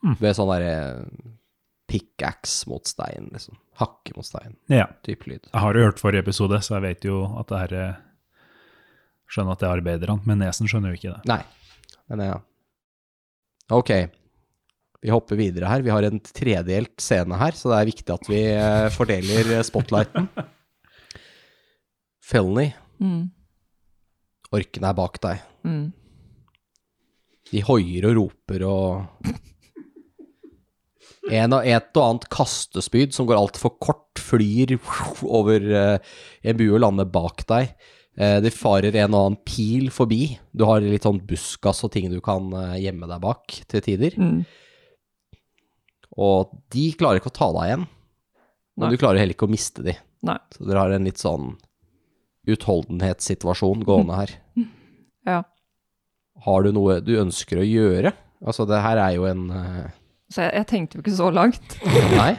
Speaker 7: Mm.
Speaker 2: Ved sånn derre pickaxe mot stein, liksom. Hakke mot stein,
Speaker 7: Ja.
Speaker 2: type lyd.
Speaker 7: Jeg har jo hørt forrige episode, så jeg vet jo at det her er Skjønner at det er arbeiderne, men nesen skjønner jo ikke det.
Speaker 2: Nei, men ja. Ok, vi hopper videre her. Vi har en tredelt scene her, så det er viktig at vi eh, fordeler eh, spotlighten. Felny,
Speaker 6: *laughs* Mm.
Speaker 2: orkene er bak deg.
Speaker 6: Mm.
Speaker 2: De hoier og roper og en og Et og annet kastespyd som går altfor kort, flyr over eh, en bue og lander bak deg. Eh, Det farer en og annen pil forbi. Du har litt sånn buskas og ting du kan eh, gjemme deg bak til tider.
Speaker 6: Mm.
Speaker 2: Og de klarer ikke å ta deg igjen.
Speaker 6: Nei.
Speaker 2: Og du klarer heller ikke å miste de.
Speaker 6: Nei.
Speaker 2: Så dere har en litt sånn utholdenhetssituasjon gående her.
Speaker 6: *laughs* Ja.
Speaker 2: Har du noe du ønsker å gjøre? Altså, det her er jo en eh,
Speaker 6: Så jeg, jeg tenkte jo ikke så langt. *laughs*
Speaker 2: Nei?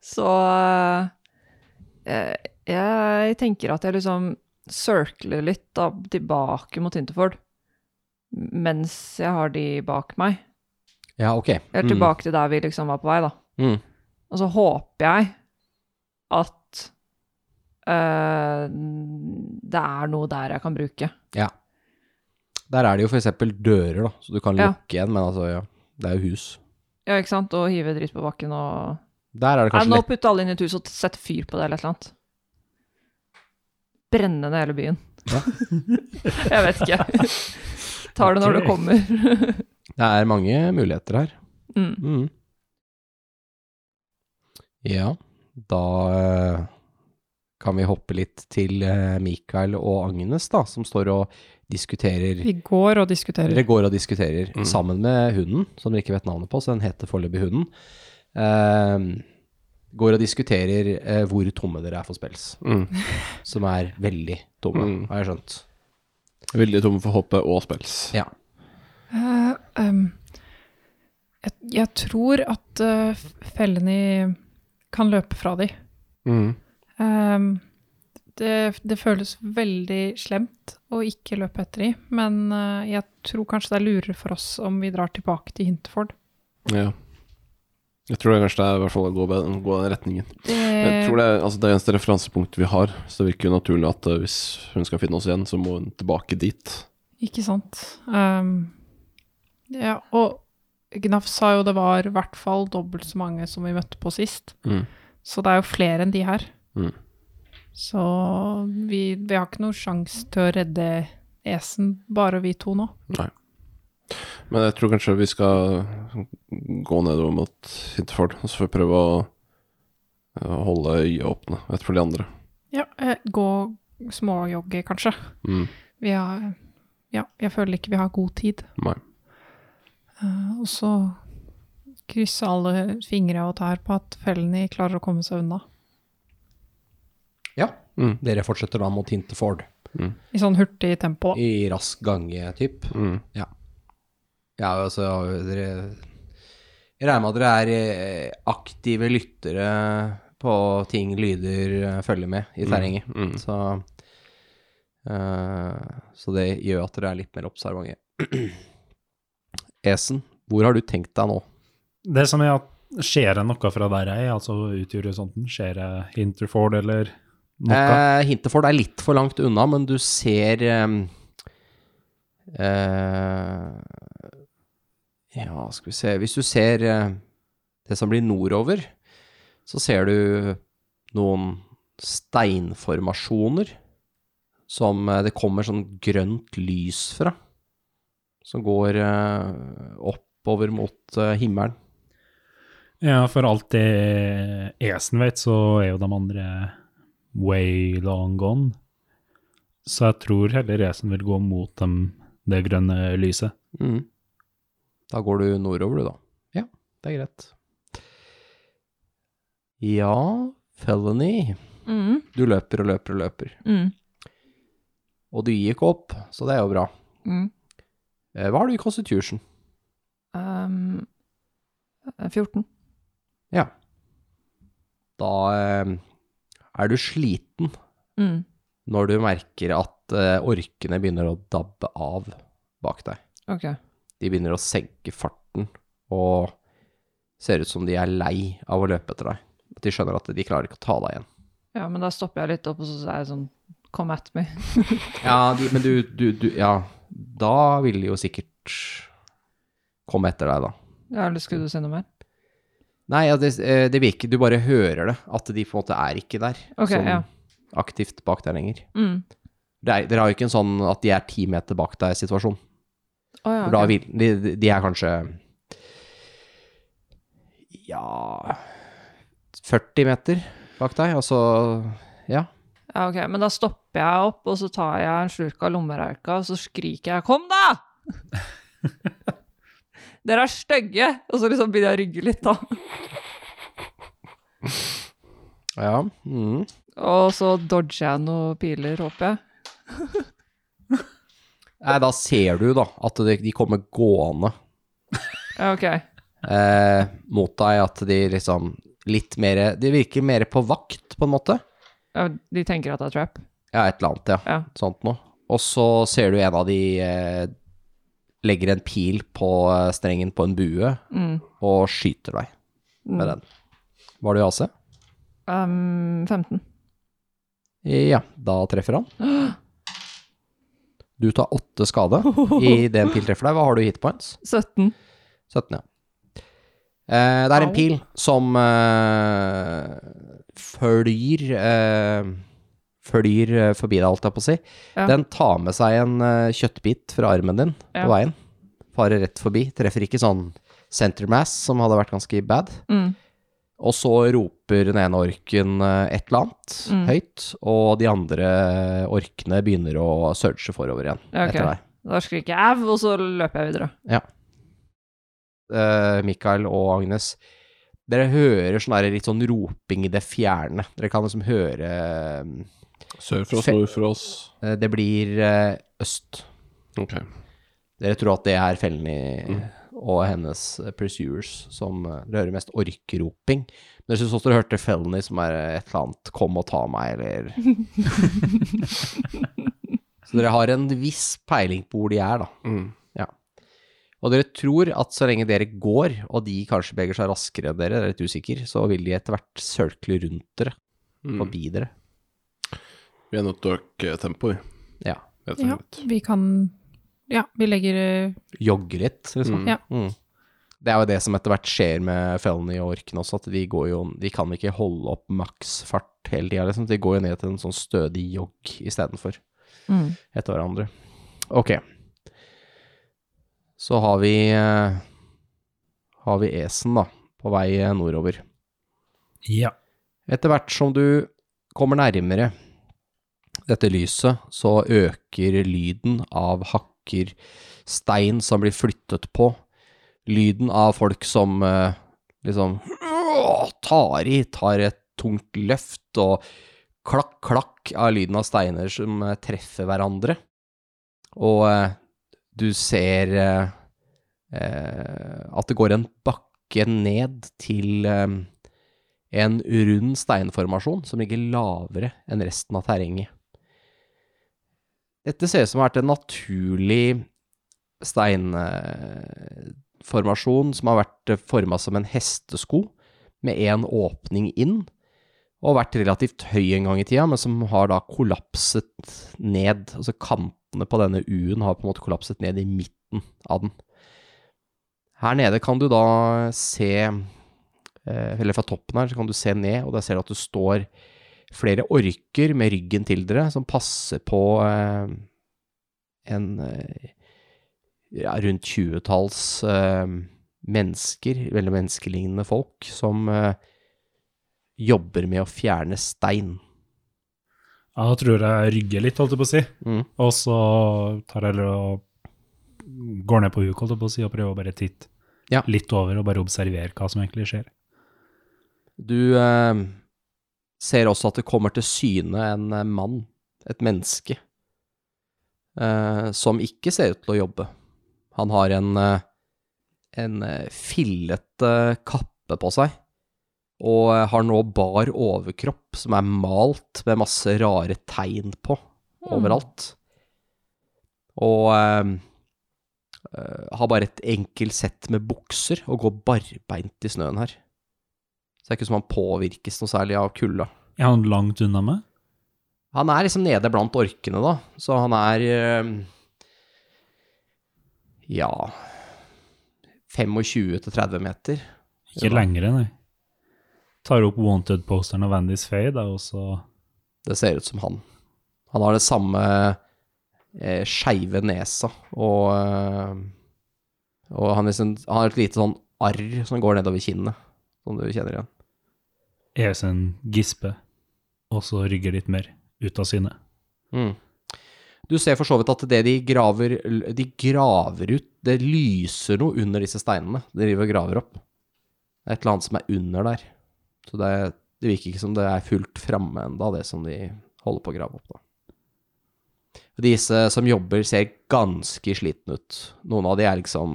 Speaker 6: Så eh, jeg tenker at jeg liksom circler litt da, tilbake mot Hinterford. Mens jeg har de bak meg.
Speaker 2: Ja, ok.
Speaker 6: Eller tilbake til der vi liksom var på vei, da.
Speaker 2: Mm. Mm.
Speaker 6: Og så håper jeg at eh, det er noe der jeg kan bruke.
Speaker 2: Ja. Der er det jo for eksempel dører, da, så du kan
Speaker 6: Ja.
Speaker 2: lukke igjen, men altså, ja. Det er jo hus.
Speaker 6: Ja, ikke sant? Og hive dritt på bakken og
Speaker 2: Der er det
Speaker 6: Nei,
Speaker 2: kanskje
Speaker 6: nå
Speaker 2: lett.
Speaker 6: putter alle inn i et hus og setter fyr på det eller et eller annet. Brenne ned hele byen.
Speaker 2: Ja.
Speaker 6: *laughs* jeg vet ikke. Tar det når det
Speaker 7: Ok.
Speaker 6: kommer. *laughs*
Speaker 2: Det er mange muligheter her.
Speaker 6: mm.
Speaker 2: Mm. Ja, da eh, kan vi hoppe litt til eh, Mikael og Agnes, da, som står og diskuterer
Speaker 3: Vi går og diskuterer.
Speaker 2: Dere går og diskuterer
Speaker 5: Mm.
Speaker 2: sammen med hunden, som dere ikke vet navnet på, så den heter foreløpig Hunden. Eh, går og diskuterer eh, hvor tomme dere er for spels, som er veldig tomme,
Speaker 5: Mm.
Speaker 2: har jeg skjønt.
Speaker 5: Veldig tom for hoppet og spels.
Speaker 2: Ja.
Speaker 3: Eh, ehm, jeg, jeg tror at eh, fellene kan løpe fra de.
Speaker 5: Mm.
Speaker 3: Ehm, det, det føles veldig slemt å ikke løpe etter de, men eh, jeg tror kanskje det er lurere for oss om vi drar tilbake til Hinterford.
Speaker 5: Ja. Jeg tror det kanskje det er i hvert fall å gå, be- gå den retningen. Jeg
Speaker 3: Det,
Speaker 5: tror det er altså, det eneste referansepunktet vi har, så det virker jo naturlig at eh, hvis hun skal finne oss igjen, så må hun tilbake dit.
Speaker 3: ikke sant. Ehm, ja, og Gnaf sa jo det var i hvert fall dobbelt så mange som vi møtte på sist.
Speaker 5: Mm.
Speaker 3: Så det er jo flere enn de her.
Speaker 5: Mm.
Speaker 3: Så vi, vi har ikke noen sjanse til å redde Esen, bare vi to nå.
Speaker 5: Men jeg tror kanskje vi skal gå nedover mot Hinterford, og så får vi prøve å eh, holde øyet åpne vet, for de andre.
Speaker 3: Ja, eh, gå småjogge, kanskje.
Speaker 5: Mm.
Speaker 3: Vi har Ja, jeg føler ikke vi har god tid.
Speaker 5: Nei.
Speaker 3: Eh, og så krysse alle fingre og tær på at fellene klarer å komme seg unna.
Speaker 2: Ja.
Speaker 5: Mm.
Speaker 2: Dere fortsetter da mot Hinteford
Speaker 3: I sånn hurtig tempo. da.
Speaker 2: i rask gange, typ.
Speaker 5: Mm.
Speaker 2: Ja, altså, dere Jeg regner med at dere er eh, aktive lyttere på ting lyder eh, følger med i terrenget.
Speaker 5: Mm.
Speaker 2: Så, eh, så det gjør at dere er litt mer observante. *clears throat* Esen, hvor har du tenkt deg nå?
Speaker 7: Det som er at skjer det noe fra der jeg er, altså ut i horisonten, skjer det Hinterford eller noe?
Speaker 2: Eh, Hinteford er litt for langt unna, men du ser ehm, eh, Ja, skal vi se Hvis du ser eh, det som blir nordover, så ser du noen steinformasjoner som eh, det kommer sånn grønt lys fra. Som går eh, oppover mot eh, himmelen.
Speaker 7: Ja, for alt det Esen vet, så er jo de andre way long gone. Så jeg tror heller Esen vil gå mot dem, det grønne lyset.
Speaker 2: Mm. Da går du nordover, du, da. Ja, det er greit. Ja, felony.
Speaker 6: Mm,
Speaker 2: Du løper og løper og løper.
Speaker 6: mm,
Speaker 2: Og du gikk opp, så det er jo bra.
Speaker 6: mm.
Speaker 2: Eh, Hva har du i Constitution?
Speaker 6: Um, eh, 14.
Speaker 2: Da eh, er du sliten
Speaker 6: Mm.
Speaker 2: når du merker at eh, orkene begynner å dabbe av bak deg.
Speaker 6: Ok.
Speaker 2: De begynner å senke farten og ser ut som de er lei av å løpe etter deg. At de skjønner at de klarer ikke å ta deg igjen.
Speaker 6: Ja, men da stopper jeg litt opp, og så er jeg sånn Come at me.
Speaker 2: Ja, de, men du, du, du Ja, da vil de jo sikkert komme etter deg, da.
Speaker 6: Ja, eller skulle du si noe mer?
Speaker 2: Nei, ja, det, eh, det virker Du bare hører det. At de på en måte er ikke der.
Speaker 6: Ok, ja.
Speaker 2: aktivt bak der lenger.
Speaker 6: Mm.
Speaker 2: Det er, dere har jo ikke en sånn at de er ti meter bak deg-situasjon.
Speaker 6: Å ja,
Speaker 2: For
Speaker 6: ok.
Speaker 2: da vil de, de er kanskje Ja 40 meter bak deg, og så Ja.
Speaker 6: ja, ok. Men da stopper jeg opp, og så tar jeg en slurk av lommereika, og så skriker jeg 'Kom, da!'
Speaker 7: *laughs*
Speaker 6: Dere er stygge! Og så liksom begynner jeg å rygge litt, da.
Speaker 2: Ja. Mm.
Speaker 6: Og så dodger jeg noen piler, håper jeg.
Speaker 2: Nei, da ser du, da, at de, de kommer gående
Speaker 6: Ja, ok.
Speaker 2: eh, mot deg. At de liksom litt mer De virker mer på vakt, på en måte.
Speaker 6: Ja, de tenker at det er trap.
Speaker 2: Ja, et eller annet, ja.
Speaker 6: Ja.
Speaker 2: Sånt noe. Og så ser du en av de eh, legger en pil på eh, strengen på en bue
Speaker 6: Mm.
Speaker 2: og skyter deg med den. Var det i AC?
Speaker 6: Um, 15.
Speaker 2: Ja, da treffer han. Du tar åtte skade i det en pil treffer deg. Hva har du i hit points?
Speaker 6: 17.
Speaker 2: 17, ja. Eh, det er en
Speaker 3: Au.
Speaker 2: pil som eh, flyr eh, Flyr eh, forbi deg, holdt jeg på å si.
Speaker 6: Ja.
Speaker 2: Den tar med seg en eh, kjøttbit fra armen din
Speaker 6: Ja.
Speaker 2: på veien. Farer rett forbi. Treffer ikke sånn center mass, som hadde vært ganske bad.
Speaker 6: Mm.
Speaker 2: Og så roper den ene orken eh, et eller annet
Speaker 6: Mm.
Speaker 2: høyt, og de andre eh, orkene begynner å surge forover igjen
Speaker 6: Ja, ok.
Speaker 2: etter deg.
Speaker 6: Da skriker jeg 'au', og så løper jeg videre.
Speaker 2: eh, Mikael og Agnes, dere hører sånn der litt sånn roping i det fjerne. Dere kan liksom høre
Speaker 5: Sør for oss,
Speaker 2: Fe-
Speaker 5: nord for oss.
Speaker 2: eh, Det blir eh, øst.
Speaker 5: Ok.
Speaker 2: Dere tror at det er Felny og hennes eh, pursuers som eh, Dere hører mest orkeroping. Men dere syns også dere hørte Felny som er eh, et eller annet 'kom og ta meg', eller Så dere har en viss peiling på hvor de er, da.
Speaker 5: Mm.
Speaker 2: Og dere tror at så lenge dere går, og de kanskje beveger seg raskere enn dere, dere er litt usikker, så vil de etter hvert sørkle rundt dere,
Speaker 5: Mm.
Speaker 2: forbi dere.
Speaker 5: Vi er nødt til å øke tempoet,
Speaker 2: Ja.
Speaker 5: rett og
Speaker 3: Ja,
Speaker 5: slett.
Speaker 3: vi kan Ja, vi legger eh,
Speaker 2: Jogge litt, liksom.
Speaker 5: Mm.
Speaker 3: Ja.
Speaker 2: Mm. Det er jo det som etter hvert skjer med Felony og Orken også, at de går jo De kan ikke holde opp maksfart hele tida, liksom. De går jo ned til en sånn stødig jogg istedenfor,
Speaker 6: Mm.
Speaker 2: etter hverandre. Ok. Så har vi eh, Har vi Esen, da, på vei eh, nordover.
Speaker 7: Ja.
Speaker 2: Etter hvert som du kommer nærmere dette lyset, så øker lyden av hakker, stein som blir flyttet på, lyden av folk som eh, liksom tar i, tar et tungt løft, og klakk, klakk av lyden av steiner som eh, treffer hverandre. Og eh, du ser eh, eh, at det går en bakke ned til eh, en rund steinformasjon som ligger lavere enn resten av terrenget. Dette ser ut som å ha vært en naturlig steinformasjon som har vært forma som en hestesko, med én åpning inn, og vært relativt høy en gang i tida, men som har da kollapset ned. Altså kantene på denne U-en har på en måte kollapset ned i midten av den. Her nede kan du da se eh, eller fra toppen her, så kan du se ned, og der ser du at det står flere orker med ryggen til dere, som passer på eh, en eh, ja, rundt tjuetalls eh, mennesker, veldig menneskelignende folk, som eh, jobber med å fjerne stein.
Speaker 7: Jeg tror jeg rygger litt, holdt jeg på å si.
Speaker 2: Mm.
Speaker 7: Og så tar jeg heller og går ned på huk, holdt jeg på å si, og prøver å bare titte
Speaker 2: Ja.
Speaker 7: litt over og bare observere hva som egentlig skjer.
Speaker 2: Du eh, ser også at det kommer til syne en eh, mann, et menneske, eh, som ikke ser ut til å jobbe. Han har en, eh, en eh, fillete kappe på seg, og eh, har nå bar overkropp som er malt med masse rare tegn på overalt. Og eh, eh, har bare et enkelt sett med bukser og går barbeint i snøen her. Så det er ikke som han påvirkes noe særlig av kulda.
Speaker 7: Er han langt unna meg?
Speaker 2: Han er liksom nede blant orkene, da, så han er eh, Ja 25-30 meter.
Speaker 7: Ikke lengre, nei. Tar opp Wanted-posteren av Vandys Faye, da, og så
Speaker 2: Det ser ut som han. Han har det samme eh, skeive nesa, og eh, Og han, liksom, han har et lite sånn arr som går nedover kinnet, som du kjenner igjen.
Speaker 7: Esen gisper, og så rygger litt mer ut av syne.
Speaker 2: Mm. Du ser for så vidt at det de graver De graver ut Det lyser noe under disse steinene. De driver og graver opp. Det er et eller annet som er under der. Så det, det virker ikke som det er fullt framme ennå, det som de holder på å grave opp, da. Disse som jobber, ser ganske slitne ut. Noen av de er liksom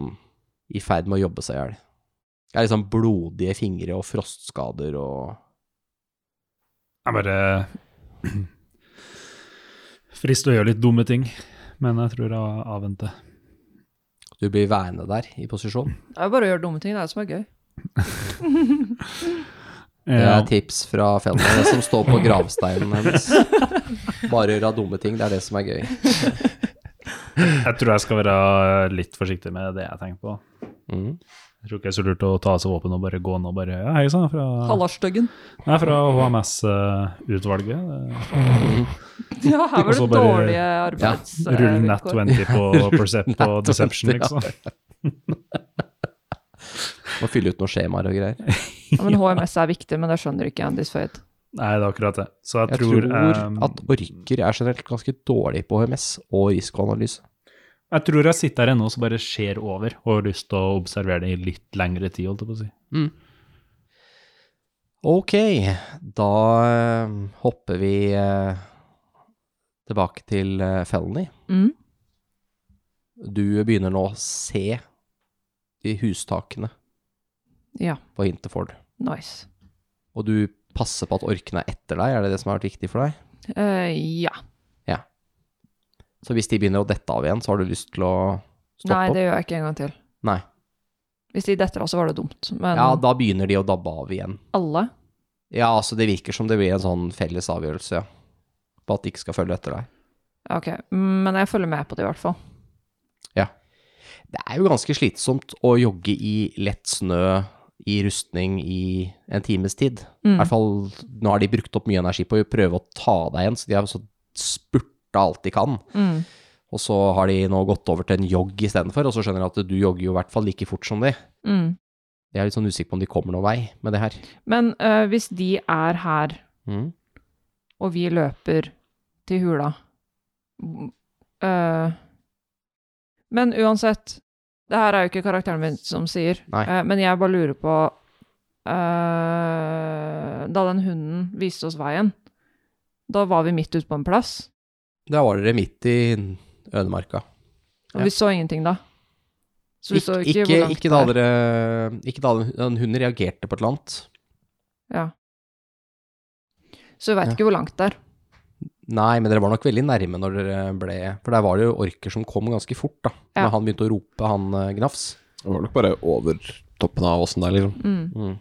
Speaker 2: i ferd med å jobbe seg i hjel. Det er liksom blodige fingre og frostskader og
Speaker 7: Jeg bare *clears throat* Frister å gjøre litt dumme ting, men jeg tror jeg avventer.
Speaker 2: Du blir værende der i posisjon.
Speaker 6: Det er jo bare å gjøre dumme ting, det er det som er gøy.
Speaker 2: Det
Speaker 7: Ja,
Speaker 2: er tips fra Fenner, det som står på gravsteinen hennes. Bare gjøre dumme ting, det er det som er gøy.
Speaker 7: jeg tror jeg skal være litt forsiktig med det jeg tenker på.
Speaker 2: Mm.
Speaker 7: Jeg tror ikke det er så lurt å ta av seg våpen og bare gå ned og bare ja, Hei sann, fra,
Speaker 6: Hallarstøggen.
Speaker 7: jeg er fra HMS-utvalget.
Speaker 6: *laughs* Ja, her
Speaker 7: Og
Speaker 6: var
Speaker 7: så
Speaker 6: det
Speaker 7: bare
Speaker 6: dårlige arbeids... eh,
Speaker 7: Rull nat 20
Speaker 2: *laughs*
Speaker 7: på Percept og
Speaker 2: nat
Speaker 7: Deception,
Speaker 2: 20, ja.
Speaker 7: liksom.
Speaker 2: Må fylle ut noen skjemaer og greier.
Speaker 6: Ja, men HMS er viktig, men det skjønner ikke Andys Føyd.
Speaker 7: Nei, det er akkurat det. Så jeg,
Speaker 2: Jeg tror
Speaker 7: eh,
Speaker 2: at orker er generelt ganske dårlig på HMS og risikoanalyse.
Speaker 7: Jeg tror jeg sitter her ennå og så bare ser over og har lyst til å observere det i litt lengre tid, holdt jeg på å si.
Speaker 2: Ok, da eh, hopper vi eh, tilbake til eh, Felny.
Speaker 6: Mm.
Speaker 2: Du begynner nå å se de hustakene
Speaker 6: Ja,
Speaker 2: på Hinterford,
Speaker 6: nice.
Speaker 2: og du passer på at orkene er etter deg, er det det som har vært viktig for deg?
Speaker 6: Eh, ja.
Speaker 2: Så hvis de begynner å dette av igjen, så har du lyst til å stoppe
Speaker 6: Nei,
Speaker 2: opp?
Speaker 6: det gjør jeg ikke en gang til.
Speaker 2: Nei.
Speaker 6: Hvis de detter av, så var det dumt. Men
Speaker 2: Ja, da begynner de å dabbe av igjen.
Speaker 6: alle
Speaker 2: Ja, altså det virker som det blir en sånn felles avgjørelse, ja. På at de ikke skal følge etter deg.
Speaker 6: Ja, Ok, men jeg følger med på det i hvert fall.
Speaker 2: Det er jo ganske slitsomt å jogge i lett snø, i rustning, i en times tid.
Speaker 6: Mm.
Speaker 2: I hvert fall, nå har de brukt opp mye energi på å prøve å ta deg igjen, så de har jo så spurta alt de kan.
Speaker 6: Mm.
Speaker 2: Og så har de nå gått over til en jogg istedenfor, og så skjønner de at du jogger jo i hvert fall like fort som de.
Speaker 6: Mm.
Speaker 2: Jeg er litt sånn usikker på om de kommer noen vei med det her.
Speaker 6: Men øh, hvis de er her,
Speaker 2: Mm.
Speaker 6: og vi løper til hula m- øh, Men uansett, det her er jo ikke karakteren min som sier,
Speaker 2: Nei.
Speaker 6: øh, men jeg bare lurer på øh, Da den hunden viste oss veien, da var vi midt ute på en plass,
Speaker 2: Da var dere midt i ødemarka.
Speaker 6: og
Speaker 2: Ja.
Speaker 6: vi så ingenting da. Så vi så
Speaker 2: ikke, ikke,
Speaker 6: ikke, hvor langt
Speaker 2: ikke,
Speaker 6: det
Speaker 2: da dere,
Speaker 6: er.
Speaker 2: ikke da den hunden reagerte på et eller annet.
Speaker 6: Ja. Så vi veit
Speaker 2: Ja.
Speaker 6: ikke hvor langt det er.
Speaker 2: Nei, men dere var nok veldig nærme når dere ble For der var det jo orker som kom ganske fort, da.
Speaker 6: Ja.
Speaker 2: Når han begynte å rope, han eh, Gnafs.
Speaker 5: Det var nok bare over toppen av åsen der, liksom.
Speaker 6: Mm.
Speaker 2: Mm.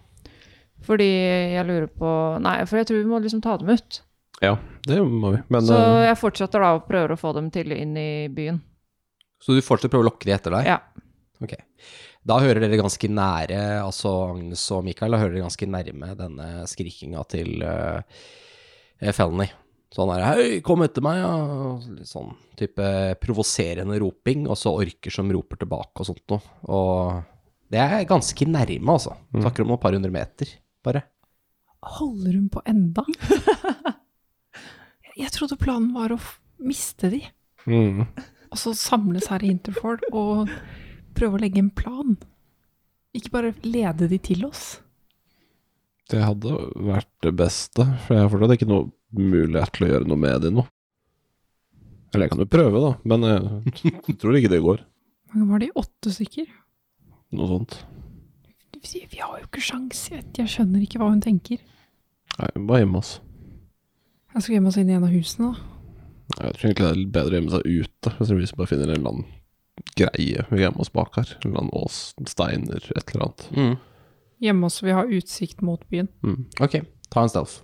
Speaker 6: Fordi jeg lurer på Nei, for jeg tror vi må liksom ta dem ut.
Speaker 5: Ja, det må vi. Men
Speaker 6: så
Speaker 5: eh,
Speaker 6: jeg fortsetter da og prøver å få dem til inn i byen.
Speaker 2: Så du fortsatt prøver å lokke de etter deg?
Speaker 6: Ja.
Speaker 2: Ok. Da hører dere ganske nære, altså Agnes og Mikael, da hører dere ganske nærme denne skrikinga til eh, eh, Felny. Sånn her, hei, kom etter meg, ja. og Litt sånn type provoserende roping, og så orker som roper tilbake og sånt noe. Og det er ganske nærme, altså. Snakker om et par hundre meter, bare.
Speaker 3: Holder hun på enda? *laughs* Jeg- Jeg trodde planen var å f- miste de,
Speaker 5: mm.
Speaker 3: og så samles her i Interford og prøve å legge en plan. Ikke bare lede de til oss.
Speaker 5: det hadde vært det beste, for jeg har fortsatt ikke noe mulighet til å gjøre noe med det nå. Eller jeg kan jo prøve, da, men eh, jeg t- tror ikke det går.
Speaker 3: Hvor mange var de? Åtte stykker?
Speaker 5: Noe sånt.
Speaker 3: Vi sier, Vi har jo ikke sjans, jeg, vet- jeg skjønner ikke hva hun tenker.
Speaker 5: Nei, bare hjemme, altså.
Speaker 3: Jeg skal gjemme oss inn i en av husene, da.
Speaker 5: Jeg tror egentlig det er litt bedre å gjemme seg ute, hvis vi bare finner en eller annen greie vi gjemmer oss bak her. En eller annen ås, steiner, et eller annet.
Speaker 3: Gjemme oss så vi har utsikt mot byen.
Speaker 2: Ok, ta en stealth.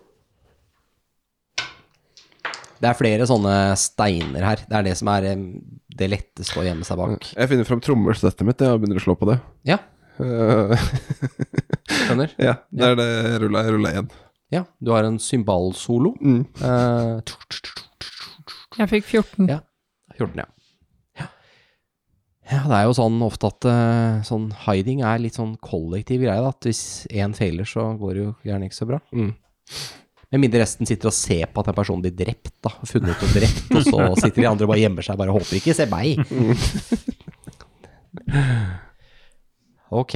Speaker 2: Det er flere sånne steiner her. Det er det som er eh, det letteste å gjemme seg bak.
Speaker 5: Jeg finner fram trommesettet mitt jeg, og begynner å slå på det.
Speaker 2: Ja,
Speaker 5: Eh, *laughs*
Speaker 2: skjønner.
Speaker 5: ja, det er det jeg rulla. Jeg rulla én.
Speaker 2: Ja, du har en symbalsolo.
Speaker 5: Mm.
Speaker 2: Eh,
Speaker 3: Jeg fikk 14.
Speaker 2: Ja. 14, ja. ja. Ja, det er jo sånn ofte at eh, sånn hiding er litt sånn kollektiv greie, da. At hvis én feiler, så går det jo gjerne ikke så bra.
Speaker 5: Mm.
Speaker 2: Med mindre resten sitter og ser på at en person blir drept, da. og Funnet ut og drept, og
Speaker 5: *laughs*
Speaker 2: så sitter de andre og bare gjemmer seg. Bare håper ikke, se meg.
Speaker 5: Mm.
Speaker 2: Ok.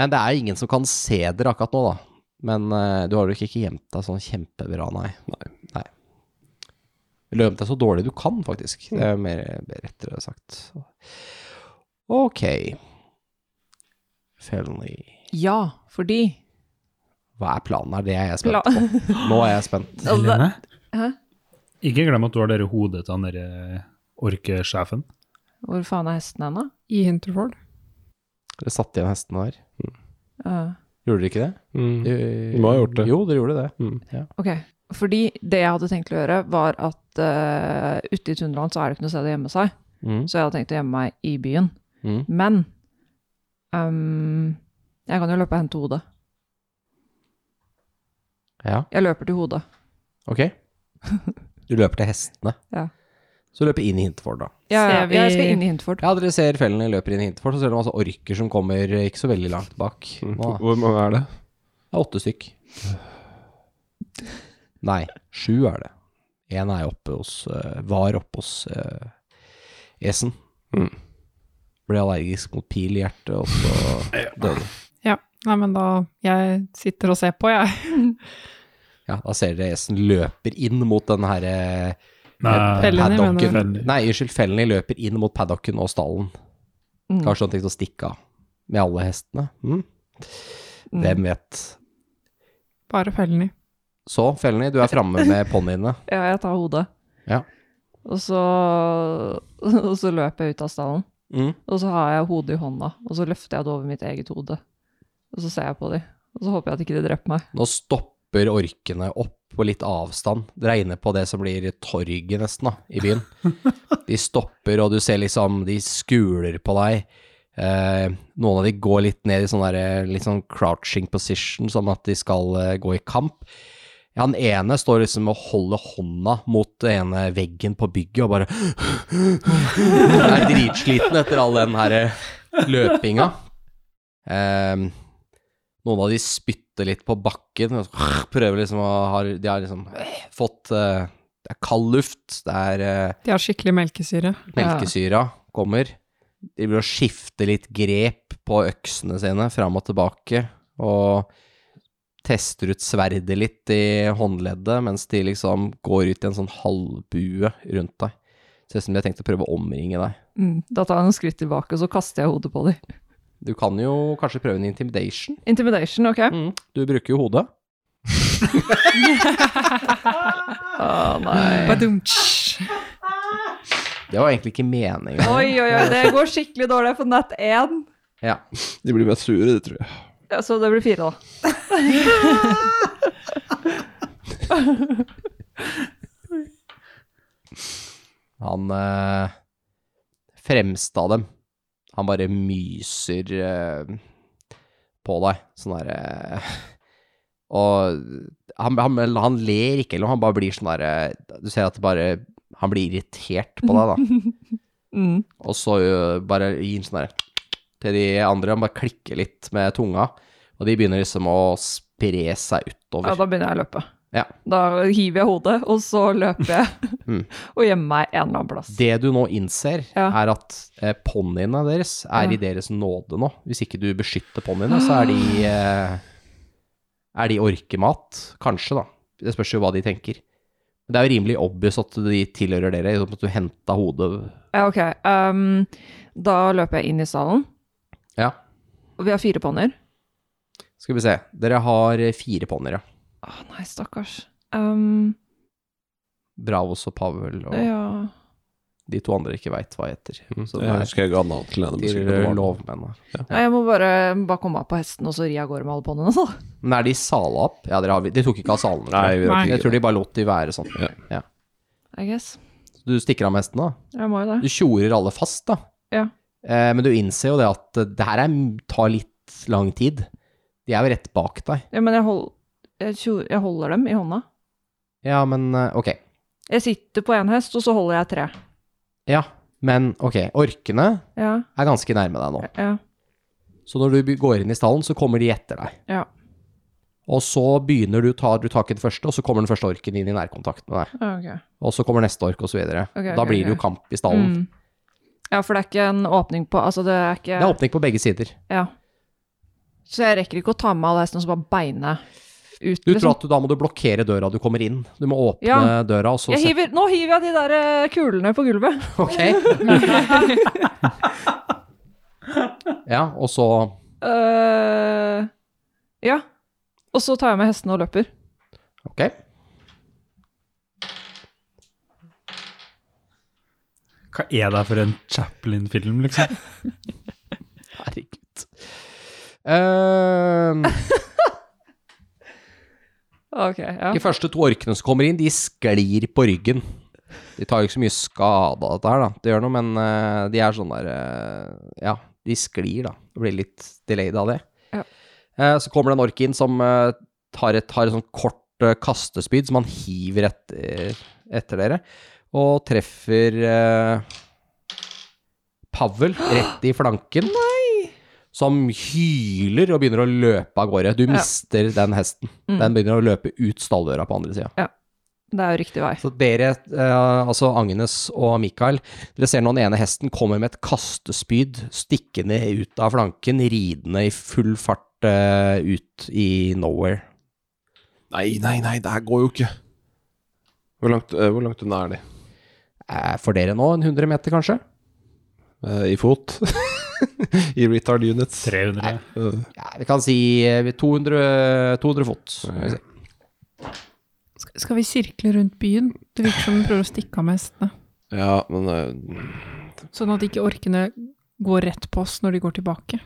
Speaker 2: Men det er ingen som kan se dere akkurat nå, da. Men eh, du har jo ikke gjemt deg sånn kjempebra, nei. Nei. Du har gjemt deg så dårlig du kan, faktisk. Det
Speaker 5: Mm.
Speaker 2: er mer rettere sagt. Ok. Felony.
Speaker 6: Ja, fordi
Speaker 2: Hva er planen her? Det er jeg
Speaker 6: Pla-
Speaker 2: spent på.
Speaker 5: *laughs*
Speaker 2: Nå er jeg spent.
Speaker 7: Helene?
Speaker 6: Hæ?
Speaker 7: Ikke glem at du har dere hodet til han derre orkesjefen.
Speaker 6: Hvor faen er hesten hen, da?
Speaker 3: I Hinterford.
Speaker 2: Dere satte igjen hestene her.
Speaker 6: Eh,
Speaker 2: Gjorde dere ikke det?
Speaker 5: Mm.
Speaker 2: Du
Speaker 5: Du må ha gjort det.
Speaker 2: Jo, dere gjorde det.
Speaker 6: ok. Fordi det jeg hadde tenkt å gjøre, var at eh, ute i tundraen så er det ikke noe sted å gjemme seg.
Speaker 2: Mm.
Speaker 6: Så jeg hadde tenkt å gjemme meg i byen.
Speaker 2: Mm.
Speaker 6: Men ehm, jeg kan jo løpe og hente hodet.
Speaker 2: Ja,
Speaker 6: Jeg løper til hodet.
Speaker 2: ok.
Speaker 5: *laughs*
Speaker 2: Du løper til hestene.
Speaker 6: Ja.
Speaker 2: Så løper inn i Hinteford, da.
Speaker 6: Ja, ja,
Speaker 3: Ser vi-
Speaker 6: Jeg skal inn i Hintford.
Speaker 2: Ja, dere ser fellene løper inn i Hinteford, så ser dere masse orker som kommer eh, ikke så veldig langt bak.
Speaker 5: Mm.
Speaker 2: Nå, da.
Speaker 5: Hvor mange er det?
Speaker 2: Det er åtte stykk. Nei, sju er det. En er oppe hos eh, Var oppe hos eh, Esen.
Speaker 5: Mm.
Speaker 2: Ble allergisk mot pil i hjertet, og så døde.
Speaker 3: Nei, men da Jeg sitter og ser på, jeg.
Speaker 2: Ja, da ser dere Esen løper inn mot den herre
Speaker 7: Nei,
Speaker 3: Fellene, mener
Speaker 2: paddocken.
Speaker 7: du?
Speaker 2: Nei, unnskyld, Felny løper inn mot paddocken og stallen.
Speaker 6: Mm.
Speaker 2: Kanskje han tenkte å stikke av med alle hestene. Mm.
Speaker 6: Mm.
Speaker 2: Hvem vet.
Speaker 3: Bare fellene.
Speaker 2: Så, Felny, du er framme med ponniene.
Speaker 6: Ja, jeg tar hodet.
Speaker 2: Ja.
Speaker 6: Og så, og så løper jeg ut av stallen.
Speaker 2: Mm.
Speaker 6: Og så har jeg hodet i hånda, og så løfter jeg det over mitt eget hode. Og så ser jeg på dem, og så håper jeg at ikke de dreper meg.
Speaker 2: Nå stopper orkene opp på litt avstand. Det regner på det som blir torget nesten da, i byen. De stopper, og du ser liksom, de skuler på deg. Eh, noen av de går litt ned i sånn der, litt sånn crouching position, som at de skal eh, gå i kamp. Ja, han ene står liksom og holder hånda mot den ene veggen på bygget og bare *laughs* Er dritsliten etter all den her eh, løpinga. Eh, noen av de spytter litt på bakken. og Prøver liksom å ha De har liksom fått eh, Det er kald luft, det er eh,
Speaker 3: De har skikkelig melkesyre.
Speaker 2: melkesyra kommer. De blir å skifte litt grep på øksene sine fram og tilbake, og tester ut sverdet litt i håndleddet mens de liksom går ut i en sånn halvbue rundt deg. Ser ut som de har tenkt å prøve å omringe deg.
Speaker 6: Mm. Da tar jeg noen skritt tilbake, og så kaster jeg hodet på dem.
Speaker 2: Du kan jo kanskje prøve en intimidation.
Speaker 6: Intimidation, OK?
Speaker 2: Mm. Du bruker jo hodet.
Speaker 6: Å nei.
Speaker 3: Badumtsj.
Speaker 2: Det var egentlig ikke meninga.
Speaker 6: Oi, oi, oi, det går skikkelig dårlig på nett én.
Speaker 2: Ja.
Speaker 5: De blir mer sure, det tror jeg.
Speaker 6: Ja, så det blir fire, da.
Speaker 2: Han eh, fremste av dem. Han bare myser eh, på deg, sånn der eh, Og han, han, han ler ikke, eller han bare blir sånn der eh, Du ser at det bare Han blir irritert på deg, da.
Speaker 6: Mm.
Speaker 2: Og så eh, bare gir han sånn der til de andre. Han bare klikker litt med tunga, og de begynner liksom å spre seg
Speaker 6: Ja,
Speaker 2: utover.
Speaker 6: da begynner jeg å løpe.
Speaker 2: Ja.
Speaker 6: Da hiver jeg hodet, og så løper jeg
Speaker 2: Mm.
Speaker 6: *laughs* og gjemmer meg en eller annen plass.
Speaker 2: Det du nå innser,
Speaker 6: Ja.
Speaker 2: er at eh, ponniene deres er
Speaker 6: Ja.
Speaker 2: i deres nåde nå. Hvis ikke du beskytter ponniene, så er de, eh, er de orkemat. Kanskje, da. Det spørs jo hva de tenker. Men det er jo rimelig obvious at de tilhører dere, i og med at du henta hodet
Speaker 6: Ja, ok. ehm, da løper jeg inn i salen.
Speaker 2: Ja.
Speaker 6: Og vi har fire ponner.
Speaker 2: Skal vi se. Dere har eh, fire ponnier, ja.
Speaker 6: Å nei, stakkars. Ehm,
Speaker 2: Bravos og Pavel og
Speaker 6: ja.
Speaker 2: de to andre ikke veit hva heter. Så det
Speaker 5: Jeg
Speaker 2: er
Speaker 5: Mm, husker jeg ga navn til den. men jeg husker ikke hva det
Speaker 2: til
Speaker 5: var.
Speaker 2: lovmennene.
Speaker 6: Nei, jeg må bare, bare komme meg på hesten, og så rir jeg av gårde med alle ponnene. altså. Så.
Speaker 2: Men er de sala opp? Ja, dere har, de tok ikke av salene. tror
Speaker 5: Nei,
Speaker 2: jeg.
Speaker 5: vi rakk
Speaker 3: Nei.
Speaker 2: jeg tror de bare lot de være sånn.
Speaker 6: I guess.
Speaker 2: Du stikker av med hestene, da?
Speaker 6: Jeg må jo det.
Speaker 2: Du tjorer alle fast, da.
Speaker 6: Ja.
Speaker 2: Eh, men du innser jo det at eh, det her er, tar litt lang tid. De er jo rett bak deg.
Speaker 6: Ja, men jeg, hold, jeg, tjo- jeg holder dem i hånda.
Speaker 2: Ja, men eh, ok.
Speaker 6: Jeg sitter på én hest, og så holder jeg tre.
Speaker 2: Ja, men ok. Orkene
Speaker 6: Ja,
Speaker 2: er ganske nærme deg nå.
Speaker 6: ja.
Speaker 2: Så når du by- går inn i stallen, så kommer de etter deg.
Speaker 6: Ja.
Speaker 2: Og så begynner du, tar du tak i den første, og så kommer den første orken inn i nærkontakt med deg.
Speaker 6: ja, ok.
Speaker 2: Og så kommer neste ork, og så videre.
Speaker 6: Ok,
Speaker 2: da
Speaker 6: ok,
Speaker 2: blir det
Speaker 6: ok.
Speaker 2: jo kamp i stallen.
Speaker 6: Mm. Ja, for det er ikke en åpning på Altså, det er ikke
Speaker 2: Det er åpning på begge sider.
Speaker 6: Ja. Så jeg rekker ikke å ta med all hesten og så bare beine ut, liksom.
Speaker 2: Du tror at du, da må du blokkere døra du kommer inn. Du må åpne
Speaker 6: sånn Ja.
Speaker 2: døra, og så
Speaker 6: Jeg hiver, nå hiver jeg de der eh, kulene på *laughs* gulvet.
Speaker 2: *laughs* Ok. ja, og så
Speaker 6: Eh, ja. Og så tar jeg med hestene og løper.
Speaker 2: Ok.
Speaker 7: Hva er det for en Chaplin-film, liksom?
Speaker 2: *laughs* Herregud. Ehm,
Speaker 6: Ok, ja.
Speaker 2: de første to orkene som kommer inn, de sklir på ryggen. De tar jo ikke så mye skade av dette her, da. Det gjør noe, men eh, de er sånn der eh, Ja, de sklir, da. Det blir litt delayed av det.
Speaker 6: Ja.
Speaker 2: Eh, så kommer det en ork inn som eh, tar et, har et sånn kort eh, kastespyd som han hiver etter, etter dere, og treffer eh, Pavel rett i flanken. Som hyler og begynner å løpe av gårde. Du mister den hesten.
Speaker 6: Mm.
Speaker 2: Den begynner å løpe ut stalldøra på andre sida.
Speaker 6: Det er jo riktig vei.
Speaker 2: Så dere, eh, altså Agnes og Mikael, dere ser nå den ene hesten kommer med et kastespyd stikkende ut av flanken, ridende i full fart eh, ut i nowhere.
Speaker 5: Nei, nei, nei, det her går jo ikke. Hvor langt, eh, hvor langt unna er de?
Speaker 2: Eh, for dere nå, en 100 meter kanskje?
Speaker 5: Eh, I fot? *laughs* I retard units?
Speaker 7: 300.
Speaker 5: Eh,
Speaker 2: Ja, vi kan si eh, 200, 200 fot. Skal vi se.
Speaker 3: Sk- Skal vi sirkle rundt byen? Det virker som de prøver å stikke av med hestene.
Speaker 5: ja, men eh,
Speaker 3: Sånn at ikke orkene går rett på oss når de går tilbake.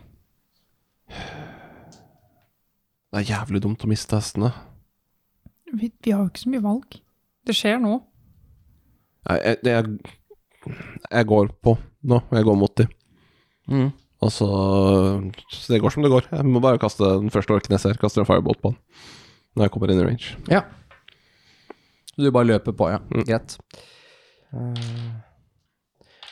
Speaker 5: Det er jævlig dumt å miste hestene.
Speaker 3: Vi, vi har jo ikke så mye valg. Det skjer nå.
Speaker 5: Nei, Jeg, det jeg, jeg går på nå. Jeg går mot de.
Speaker 2: Mm.
Speaker 5: Altså Så det går som det går. Jeg må bare kaste den første orken jeg ser. Kaster en firebolt på den. Når jeg kommer inn i range.
Speaker 2: Ja. Så du bare løper på, ja. Greit. Eh,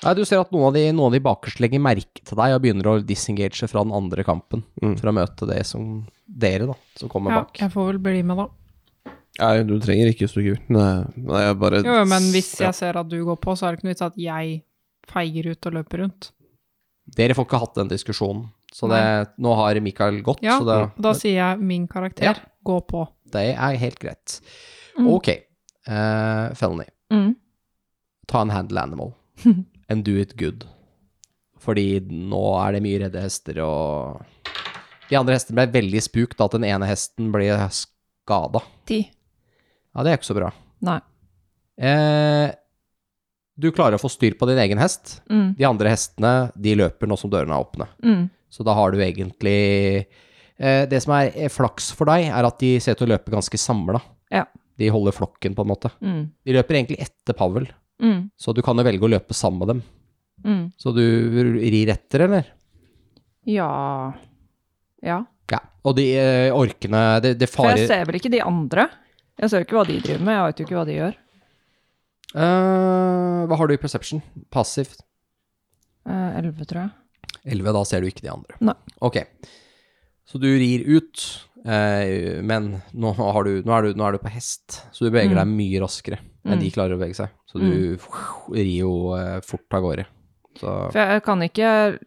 Speaker 2: Nei, du ser at noen av de, noen av de bakerste legger merke til deg og begynner å disengage fra den andre kampen. For å møte det som dere, da, som kommer
Speaker 3: Ja,
Speaker 2: bak.
Speaker 3: jeg får vel bli med, da.
Speaker 5: Nei, du trenger ikke hvis du ikke vil. Nei, nei, jeg bare
Speaker 3: Jo, jo, men hvis jeg ser at du går på, så er det ikke noe vits at jeg feiger ut og løper rundt.
Speaker 2: Dere får ikke hatt den diskusjonen. Så det, nå har Mikael gått,
Speaker 3: Ja,
Speaker 2: så det,
Speaker 3: og da sier jeg min karakter.
Speaker 2: Ja.
Speaker 3: Gå på.
Speaker 2: det er helt greit.
Speaker 6: Mm.
Speaker 2: Ok. Uh, Felony.
Speaker 6: Mm.
Speaker 2: ta en handle animal. And do it good. Fordi nå er det mye redde hester, og De andre hestene ble veldig spukt at den ene hesten ble skada.
Speaker 6: Ti.
Speaker 2: Ja, det er ikke så bra.
Speaker 6: Nei.
Speaker 2: Eh, du klarer å få styr på din egen hest.
Speaker 6: Mm.
Speaker 2: De andre hestene de løper nå som dørene er åpne.
Speaker 6: Mm.
Speaker 2: Så da har du egentlig eh, Det som er eh, flaks for deg, er at de ser ut til å løpe ganske samla.
Speaker 6: Ja.
Speaker 2: De holder flokken, på en måte.
Speaker 6: Mm.
Speaker 2: De løper egentlig etter Pavel,
Speaker 6: Mm.
Speaker 2: så du kan jo velge å løpe sammen med dem.
Speaker 6: Mm.
Speaker 2: Så du rir etter, eller?
Speaker 6: Ja Ja.
Speaker 2: Ja. Og de eh, orkene Det, det
Speaker 6: For
Speaker 2: farer
Speaker 6: jeg ser vel ikke de andre. Jeg ser jo ikke hva de driver med, jeg vet jo ikke hva de gjør.
Speaker 2: Eh, Hva har du i perception? Passivt.
Speaker 6: Eh, Elleve, tror jeg.
Speaker 2: 11, da ser du ikke de andre.
Speaker 6: Nei.
Speaker 2: Ok. Så du rir ut, eh, men nå, har du, nå, er du, nå er du på hest, så du beveger
Speaker 6: Mm.
Speaker 2: deg mye raskere enn de klarer å bevege seg. Så du rir jo eh, fort av gårde. Så
Speaker 6: For jeg kan ikke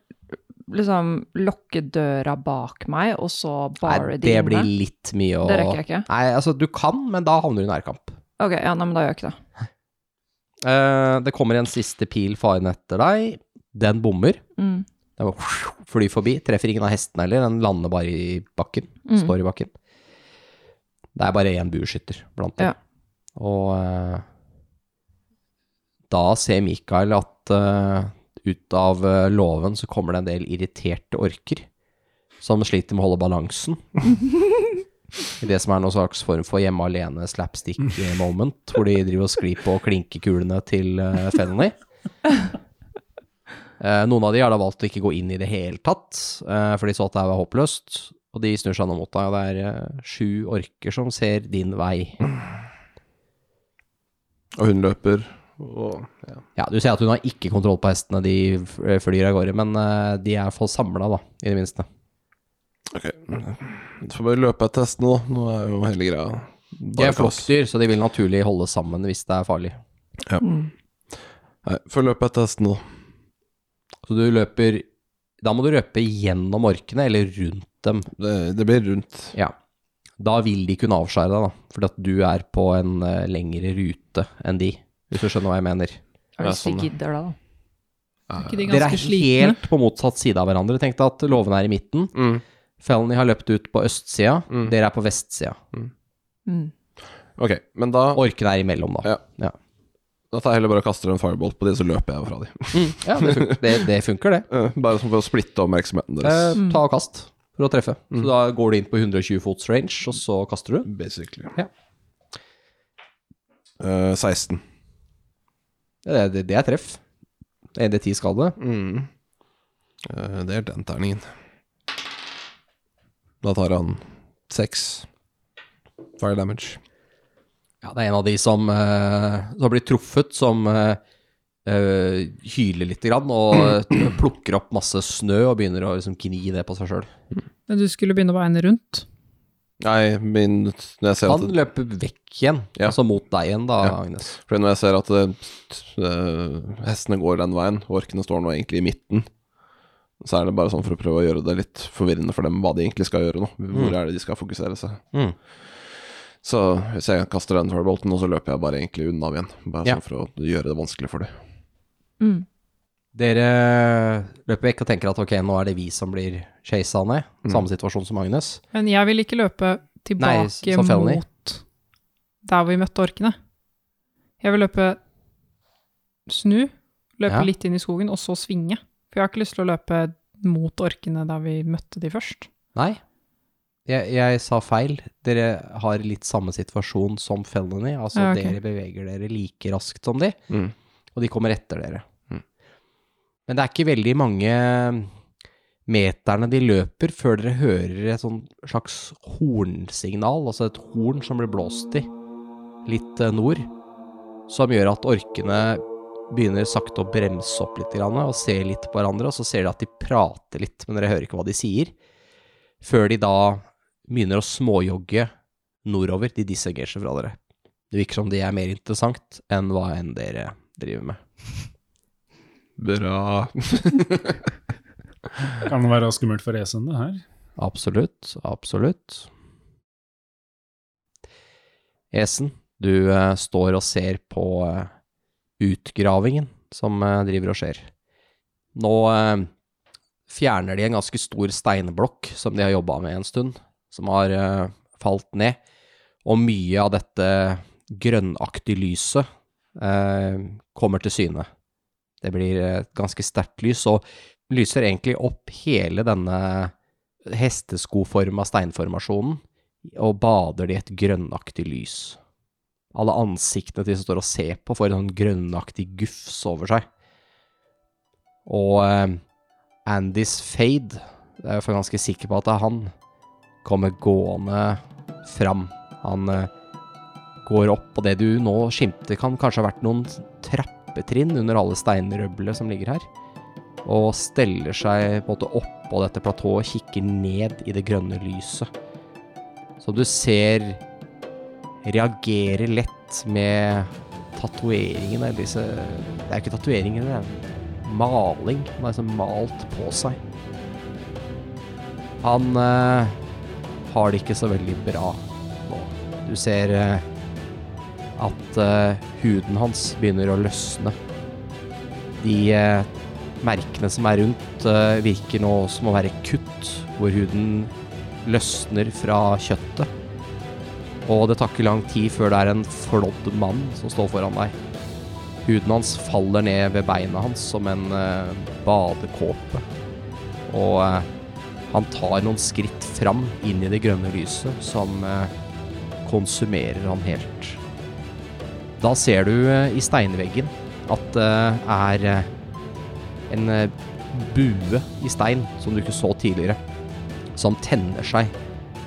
Speaker 6: liksom lokke døra bak meg, og så bare
Speaker 2: Nei,
Speaker 6: de
Speaker 2: det
Speaker 6: inne.
Speaker 2: blir litt mye å
Speaker 6: Det rekker jeg ikke.
Speaker 2: Nei, altså, du kan, men da havner du i nærkamp.
Speaker 6: Ok, ja, nei, men da gjør jeg ikke det.
Speaker 2: Eh, det kommer en siste pil faren etter deg. Den bommer.
Speaker 6: Mm.
Speaker 2: Den bare flyr forbi. Treffer ingen av hestene heller. Den lander bare i bakken.
Speaker 6: Mm.
Speaker 2: Står i bakken. Det er bare én bueskytter blant dem.
Speaker 6: Ja.
Speaker 2: Og eh, da ser Mikael at eh, ut av eh, låven så kommer det en del irriterte orker som sliter med å holde
Speaker 6: *laughs*
Speaker 2: balansen. I det som er noen slags form for hjemme alene slapstick-moment, hvor de driver og sklir på klinkekulene til uh, Fenny. Eh, noen av de har da valgt å ikke gå inn i det hele tatt, eh, for de så at det her var håpløst. Og de snur seg nå mot deg, og det er eh, sju orker som ser din vei.
Speaker 5: Og hun løper og ja.
Speaker 2: Ja, du ser at hun har ikke kontroll på hestene, de f- eh, flyr av gårde, men eh, de er for samla, da, i det minste.
Speaker 5: Ok. Du får bare løpe etter hestene, da. Nå er jo hele greia
Speaker 2: De
Speaker 5: bare
Speaker 2: er flokkdyr, så de vil naturlig holde sammen hvis det er farlig.
Speaker 5: Nei, får løpe etter hestene, da.
Speaker 2: Så du løper Da må du røpe gjennom orkene, eller rundt dem.
Speaker 5: Det, det blir rundt.
Speaker 2: Ja. Da vil de kunne avskjære deg, da, fordi at du er på en eh, lengre rute enn de, hvis du skjønner hva jeg mener.
Speaker 6: Ja, Hvis de gidder det, da.
Speaker 3: Er ikke de
Speaker 2: Dere er
Speaker 3: ganske slitne?
Speaker 2: helt på motsatt side av hverandre. Tenk deg at låven er i midten. Felony har løpt ut på østsida, dere er på vestsida.
Speaker 6: Mm.
Speaker 5: Ok, men da
Speaker 2: Orkene er imellom, da.
Speaker 5: Ja. Da tar jeg heller bare og kaster en firebolt på de, så løper jeg fra de.
Speaker 2: Ja, det, funker, *laughs* det, det funker, det.
Speaker 5: Eh, *laughs* Bare sånn for å splitte oppmerksomheten deres.
Speaker 2: Eh,
Speaker 3: Mm.
Speaker 2: ta og kast for å treffe. Så da går du inn på 120 fots range, og så kaster du.
Speaker 5: Basically.
Speaker 2: Ja.
Speaker 5: Eh, 16.
Speaker 2: Det, det, det er treff. 1D10 skade. Mm.
Speaker 5: Eh, det er den terningen. Da tar han 6 fire damage.
Speaker 2: Ja, det er en av de som, eh, som har blitt truffet, som eh, eh, hyler litt grann, og eh, plukker opp masse snø og begynner å liksom, gni det på seg sjøl.
Speaker 3: Men du skulle begynne å beine rundt?
Speaker 5: Nei, min Når jeg ser at
Speaker 2: Han løper vekk igjen,
Speaker 5: Ja.
Speaker 2: altså mot deg igjen da,
Speaker 5: Ja.
Speaker 2: Agnes.
Speaker 5: Fordi når jeg ser at eh, hestene går den veien, og orkene står nå egentlig i midten, så er det bare sånn for å prøve å gjøre det litt forvirrende for dem hva de egentlig skal gjøre nå. Hvor er det de skal fokusere seg?
Speaker 2: Mm.
Speaker 5: Så hvis jeg kaster den firebolten, og så løper jeg bare egentlig unna igjen. Bare
Speaker 2: Ja.
Speaker 5: sånn for å gjøre det vanskelig for dem.
Speaker 2: Dere løper vekk og tenker at ok, nå er det vi som blir chasa ned. Samme
Speaker 5: Mm.
Speaker 2: situasjon som Agnes.
Speaker 3: Men jeg vil ikke løpe
Speaker 2: Nei, s-
Speaker 3: tilbake
Speaker 2: som Felony.
Speaker 3: mot der vi møtte orkene. Jeg vil løpe snu, løpe
Speaker 2: Ja.
Speaker 3: litt inn i skogen, og så svinge For jeg har ikke lyst til å løpe mot orkene da vi møtte de først.
Speaker 2: Nei, jeg, jeg sa feil. Dere har litt samme situasjon som Felony. Altså,
Speaker 3: Ja, ok.
Speaker 2: dere beveger dere like raskt som de,
Speaker 5: Mm.
Speaker 2: og de kommer etter dere.
Speaker 5: Mm.
Speaker 2: Men det er ikke veldig mange meterne de løper før dere hører et sånn slags hornsignal, altså et horn som blir blåst i litt eh, nord, som gjør at orkene begynner sakte å bremse opp litt grann, og se litt på hverandre, og så ser dere at de prater litt, men dere hører ikke hva de sier før de da begynner å småjogge nordover. De disengasjer fra dere. Det virker som de er mer interessant enn hva enn dere driver med.
Speaker 5: Bra.
Speaker 7: Kan det være skummelt for Esen, det her?
Speaker 2: Absolutt, absolutt. Esen, du eh, står og ser på eh, utgravingen som eh, driver og skjer. Nå eh, fjerner de en ganske stor steinblokk som de har jobba med en stund, som har eh, falt ned, og mye av dette grønnaktige lyset eh, kommer til syne. Det blir eh, et ganske sterkt lys, og lyser egentlig opp hele denne hesteskoforma steinformasjonen, og bader de i et grønnaktig lys. Alle ansiktene de som står og ser på, får en sånn grønnaktig gufs over seg. Og eh, Andys Fade, det er jeg for ganske sikker på at det er han, kommer gående fram. Han eh, går opp, og det du nå skimter, kan kanskje ha vært noen trappetrinn under alle steinrøblene som ligger her og steller seg på en måte oppå dette platået og kikker ned i det grønne lyset. Som du ser reagerer lett med tatoveringene disse Det er jo ikke tatoveringer, det er maling. Han er liksom malt på seg. Han eh, har det ikke så veldig bra nå. Du ser eh, at eh, huden hans begynner å løsne. De eh, Merkene som er rundt eh, virker nå som å være kutt, hvor huden løsner fra kjøttet. Og det tar ikke lang tid før det er en flådd mann som står foran deg. Huden hans faller ned ved beina hans som en eh, badekåpe. Og eh, han tar noen skritt fram inn i det grønne lyset, som eh, konsumerer han helt. Da ser du eh, i steinveggen at det er eh, en eh, bue i stein som du ikke så tidligere, som tenner seg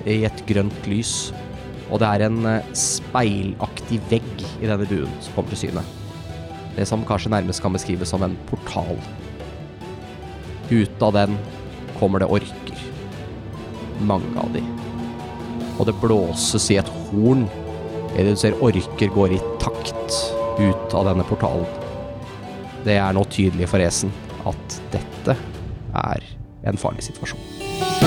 Speaker 2: i et grønt lys. Og det er en eh, speilaktig vegg i denne buen som kommer til syne. Det som kanskje nærmest kan beskrives som en portal. Ut av den kommer det orker. Mange av de. Og det blåses i et horn idet du ser orker går i takt ut av denne portalen. Det er nå tydelig for Esen at dette er en farlig situasjon.